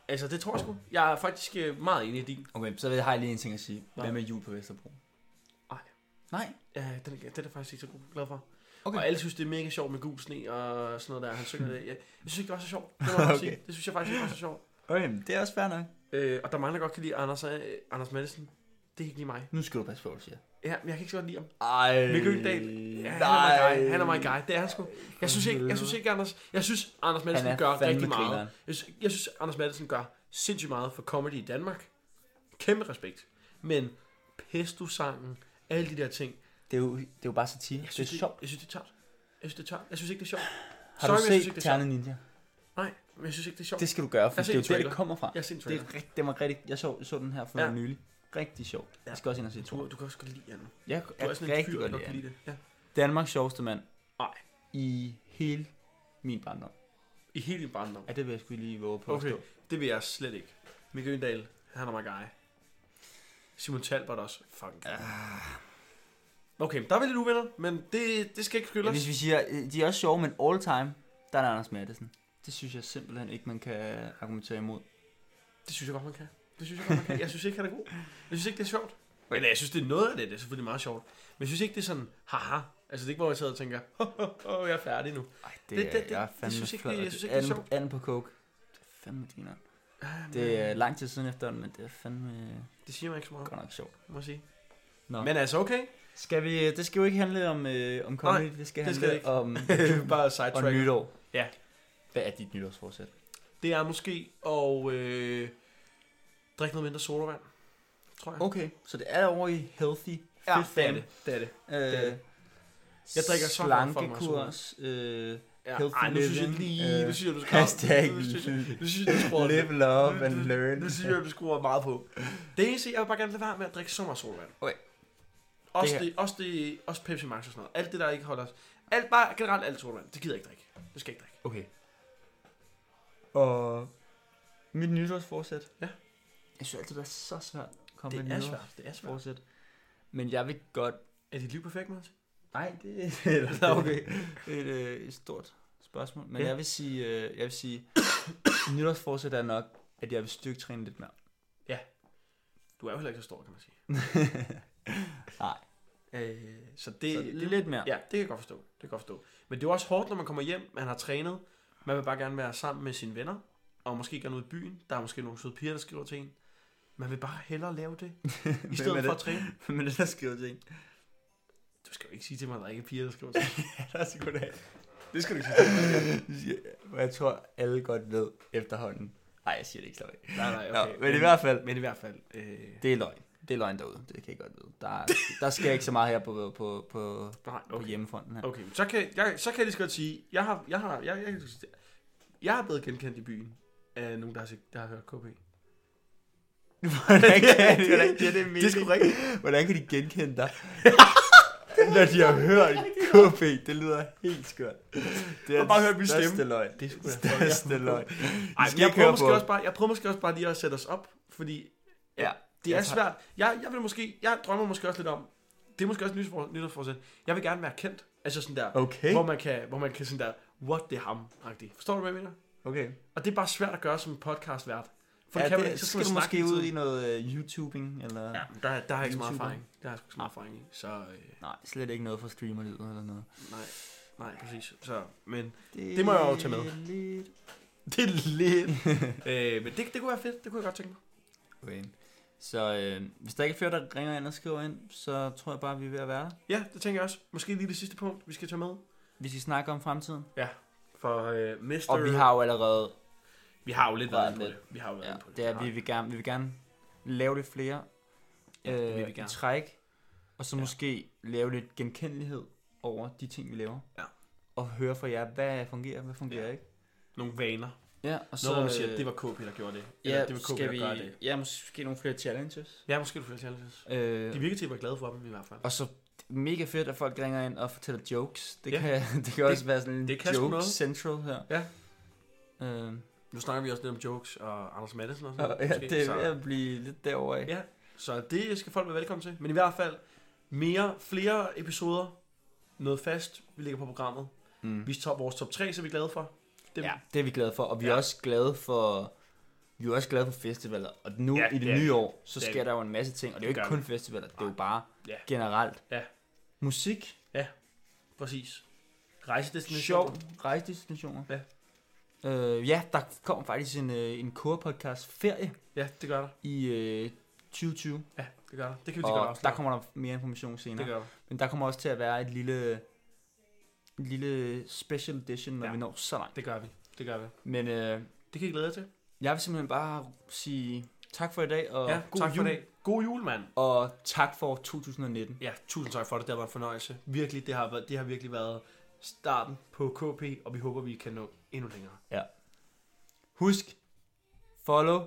S2: Altså, det tror jeg sgu. Jeg er faktisk øh, meget enig i din.
S3: Okay, så har jeg lige en ting at sige.
S2: Nå.
S3: Hvad med jul på Vesterbro?
S2: Ej.
S3: Nej?
S2: Ja, den, er- den er jeg faktisk ikke så god- glad for.
S3: Okay.
S2: Okay. Og alle synes, det er mega sjovt med gul sne og sådan noget der. Han synger det. Jeg, jeg synes ikke, det var så sjovt. Det, var okay. sige. det synes jeg faktisk ikke var så sjovt.
S3: Okay, men det er også fair nok.
S2: Øh, og der er mange, der godt kan lide Anders, øh, Anders Madsen. Det er ikke lige mig.
S3: Nu skal du passe på, hvad du siger.
S2: Ja, men jeg kan ikke så godt lide ham.
S3: Ej.
S2: Mikkel Øgendahl. Ja, han er my guy. Han er my guy. Det er han sgu. Jeg synes ikke, jeg synes ikke Anders, jeg synes, Anders
S3: Han
S2: Madsen
S3: er
S2: gør
S3: fandme
S2: rigtig
S3: grineren.
S2: meget. Jeg synes, jeg synes, Anders Madsen gør sindssygt meget for comedy i Danmark. Kæmpe respekt. Men pesto-sangen, alle de der ting.
S3: Det er jo, det er jo bare satire.
S2: Jeg
S3: Det er
S2: synes,
S3: sjovt.
S2: Jeg synes, det er tørt. Jeg synes, det er tørt. Jeg synes ikke, det er sjovt.
S3: Har
S2: Sorry,
S3: du
S2: men jeg synes
S3: set
S2: ikke, det er sjovt.
S3: Terne Ninja?
S2: Nej, men jeg synes ikke, det er sjovt.
S3: Det skal du gøre, for
S2: Jeg
S3: det
S2: ser
S3: er jo
S2: en
S3: der, det
S2: trailer.
S3: kommer fra.
S2: Jeg har set en
S3: det
S2: trailer.
S3: er rigtig, det var rigtig, jeg så, så den her for
S2: Ja.
S3: ja. nylig. Rigtig sjov.
S2: Ja.
S3: Jeg skal også ind og se
S2: Du,
S3: turen.
S2: du kan også godt lide Anna. Du
S3: Jeg
S2: er,
S3: er
S2: sådan en
S3: rigtig
S2: fyr, der
S3: godt
S2: godt kan
S3: lide
S2: lide det. Ja.
S3: Danmarks sjoveste mand
S2: Nej,
S3: i hele min barndom.
S2: i hele din barndom.
S3: Ja, det vil jeg skulle lige våge på.
S2: Okay, det vil jeg slet ikke. Mikkel Øndal, han er my guy. Simon Talbot også. Fuck.
S3: Ah.
S2: Okay, men der er vi lidt uvenner, men det, det skal ikke skylde
S3: Ja,
S2: os.
S3: hvis vi siger, øh, de er også sjove, men all time, der er der Anders Matthesen. Det synes jeg simpelthen ikke, man kan argumentere imod.
S2: Det synes jeg godt, man kan. Det synes jeg godt, man kan. Jeg synes ikke, han er god. Jeg synes ikke, det er sjovt. Men jeg synes, det er noget af det. Det er selvfølgelig meget sjovt. Men jeg synes ikke, det er sådan, haha. Altså, det er ikke, hvor jeg sidder og tænker, åh, jeg er færdig nu.
S3: Ej,
S2: Det- det- det- jeg synes ikke, det- jeg synes ikke, det er
S3: anden,
S2: sjovt.
S3: anden på coke. Det er fandme griner.
S2: Ah, men
S3: Det er lang tid siden efterhånden, men det er fandme
S2: det siger mig ikke så meget,
S3: godt nok sjovt.
S2: må jeg sige.
S3: Nå.
S2: Men altså, okay.
S3: Skal vi, det skal jo ikke handle om, øh, om comedy, det skal
S2: det
S3: handle
S2: skal det ikke.
S3: om
S2: Bare
S3: og
S2: sidetrack.
S3: nytår.
S2: Ja.
S3: Hvad er dit nytårsforsæt?
S2: Det er måske at øh, drikke noget mindre sodavand, tror jeg.
S3: Okay, så det er over i healthy.
S2: Ja,
S3: Fedt
S2: det er
S3: fam.
S2: det. Det er det.
S3: Øh,
S2: det. Jeg drikker så meget for mig,
S3: slankekurs, øh,
S2: Ja.
S3: Healthy
S2: Ej, nu synes jeg
S3: living,
S2: lige,
S3: øh,
S2: nu synes jeg, du skal
S3: hashtag
S2: Nu synes jeg, nu synes jeg, du skruer
S3: live, love and
S2: Nu-
S3: learn.
S2: Nu synes jeg, du skruer meget på. Det eneste, jeg vil bare gerne lade være med at drikke så meget solvand.
S3: Okay.
S2: Også,
S3: Det her.
S2: det, også, det, også Pepsi Max og sådan noget. Alt det, der ikke holder os. Alt, bare generelt alt solvand. Det gider jeg ikke drikke. Det skal jeg ikke drikke.
S3: Okay. Og mit nytårsforsæt?
S2: Ja.
S3: Jeg synes altid, det er så svært at komme
S2: Det
S3: med
S2: er
S3: et
S2: svært. Det er svært.
S3: nytårsforsæt. Men jeg vil godt...
S2: Er dit liv perfekt, Mads?
S3: Nej, det er okay. et, øh, et stort spørgsmål. Men
S2: Ja.
S3: ja. jeg vil sige, øh, jeg vil sige nytårsforsæt er nok, at jeg vil styrketræne lidt mere.
S2: Du er jo heller ikke så stor, kan man sige.
S3: Nej.
S2: Øh, så det,
S3: Så
S2: det,
S3: lidt mere.
S2: Ja, det kan jeg godt forstå. Det kan jeg godt forstå. Men det er jo også hårdt, når man kommer hjem, man har trænet. Man vil bare gerne være sammen med sine venner, og måske gerne ud i byen. Der er måske nogle søde piger, der skriver til en. Man vil bare hellere lave det, i
S3: er
S2: stedet for
S3: det?
S2: at træne.
S3: Men det der skriver til en.
S2: Du skal jo ikke sige til mig, at der ikke er piger, der skriver til mig.
S3: Ja, der er så goddag.
S2: Det skal du ikke sige til mig.
S3: Ja, Jeg tror, alle godt ved efterhånden. Nej, jeg siger det ikke, slap af.
S2: Nej, nej,
S3: Nå,
S2: okay.
S3: men i hvert fald,
S2: Men i hvert fald, øh,
S3: det er løgn. det er løgn derude, det kan jeg godt vide. Der, der sker ikke så meget her på, på, på,
S2: Nej,
S3: på
S2: okay.
S3: hjemmefronten her.
S2: Okay, men så kan, jeg, så kan jeg lige så godt sige, jeg har, jeg har, jeg, jeg, jeg, jeg er blevet genkendt i byen af nogen, der har, set- der har hørt KB.
S3: Hvordan kan de, hvordan giver det
S2: Det er sgu
S3: mening?
S2: rigtigt.
S3: Hvordan kan de genkende dig? Når de har hørt KB, det lyder helt skørt. Det
S2: har bare hørt min stemme.
S3: største løgn. Det
S2: Det skulle
S3: er
S2: jeg
S3: største løgn.
S2: Ej,
S3: skal
S2: men jeg,
S3: ikke
S2: prøver
S3: høre
S2: måske
S3: på.
S2: også bare, jeg prøver måske også bare lige at sætte os op, fordi
S3: Ja,
S2: det er
S3: jeg tager-
S2: svært. Jeg, jeg, vil måske, jeg drømmer måske også lidt om, det er måske også nytårsfor- nytårsforsæt, jeg vil gerne være kendt. Altså sådan der,
S3: Okay.
S2: hvor, man kan, hvor man kan sådan der, what det er ham, -agtigt. Forstår du, hvad jeg mener?
S3: Okay.
S2: Og det er bare svært at gøre som podcast vært. For
S3: Ja,
S2: det kan
S3: det,
S2: man ikke,
S3: så
S2: så
S3: skal du
S2: man snakke
S3: måske
S2: hele
S3: ud
S2: tiden.
S3: i noget uh, YouTubing, eller...
S2: Ja, men der, der er ikke så meget
S3: YouTuber.
S2: erfaring. Der er sgu ikke så meget erfaring i. Så øh,
S3: Nej, slet ikke noget for streamerlivet eller noget.
S2: nej, nej, præcis. Så, men, Det må jeg jo tage med.
S3: er Lidt.
S2: det er lidt. øh, men det, det kunne være fedt. Det kunne jeg godt tænke mig.
S3: Okay. Så øh, hvis der ikke er flere, der ringer ind og skriver ind, så tror jeg bare, vi er ved at være der.
S2: Ja, det tænker jeg også. Måske lige det sidste punkt, vi skal tage med.
S3: Vi skal snakke om fremtiden.
S2: For øh, Mr.
S3: Og vi har jo allerede...
S2: vi har jo lidt
S3: Været
S2: været inde på
S3: lidt.
S2: det. Vi har jo været
S3: Ja,
S2: inde på det.
S3: det er, vi vil gerne, vi vil gerne lave lidt flere øh,
S2: Ja, det vil vi
S3: i
S2: gerne.
S3: træk. Og så
S2: Ja.
S3: måske lave lidt genkendelighed over de ting, vi laver.
S2: Ja.
S3: Og høre fra jer, hvad fungerer, hvad fungerer
S2: Ja.
S3: ikke.
S2: Nogle vaner.
S3: Ja, og øh,
S2: Så, Noget, hvor man siger, at det var KP, der gjorde det. Eller,
S3: Ja,
S2: det var KP,
S3: skal
S2: der gør
S3: vi,
S2: det.
S3: ja, måske nogle flere challenges.
S2: Ja, måske du flere challenges.
S3: Øh,
S2: De virker til at være glade for dem i hvert fald.
S3: og så mega fedt, at folk ringer ind og fortæller jokes. Det,
S2: Ja.
S3: kan, det kan også være sådan en
S2: det kan sgu
S3: joke
S2: noget.
S3: central her.
S2: Ja.
S3: Øh,
S2: Nu snakker vi også lidt om jokes og Anders Madsen og sådan
S3: og,
S2: noget.
S3: ja,
S2: måske.
S3: det er
S2: så,
S3: ved at blive lidt derovre af.
S2: Ja. så det skal folk være velkommen til. Men i hvert fald, mere, flere episoder. Noget fast, vi ligger på programmet.
S3: Mm.
S2: Vi tager vores top 3, så er vi glade for. Dem.
S3: ja. Det er vi glade for, og vi er
S2: Ja.
S3: også glade for... Vi er også glade for festivaler, og nu
S2: Ja,
S3: ja, i det,
S2: det er vi.
S3: nye år, så
S2: Det er
S3: sker
S2: vi.
S3: der jo en masse ting, og det er jo
S2: Det
S3: ikke
S2: gør
S3: kun festivaler, det er jo bare
S2: Ja.
S3: generelt.
S2: Ja.
S3: Musik,
S2: Præcis.
S3: sjov,
S2: Rejsedestination.
S3: rejsedestinationer.
S2: Ja.
S3: Øh, ja, der kommer faktisk en, øh, en kurpodcast ferie
S2: Ja, det gør der.
S3: i øh, 2020,
S2: Ja, det gør der. Det kan vi lige godt
S3: og der
S2: afsløre.
S3: kommer der mere information senere.
S2: Det gør der.
S3: Men der kommer også til at være et lille, en lille special edition, når ja.
S2: Ja.
S3: vi når så langt.
S2: Det gør vi. Det gør vi.
S3: Men øh,
S2: Det kan I glæde jer til.
S3: jeg vil simpelthen bare sige tak for i dag, og
S2: ja,
S3: god
S2: tak
S3: jul,
S2: for i dag. God jul, mand.
S3: og tak for 2019.
S2: Ja, tusind tak for det. Det har været en fornøjelse. Virkelig, det har, været, det har virkelig været starten på KP, og vi håber, vi kan nå endnu længere.
S3: Husk, follow,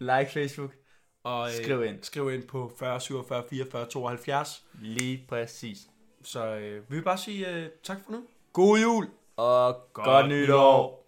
S3: like Facebook,
S2: Og øh,
S3: skriv ind.
S2: skriv ind på 40 47 44 72.
S3: Lige præcis.
S2: Så øh, vi vil bare sige øh, tak for nu.
S3: God jul, og godt, godt nytår.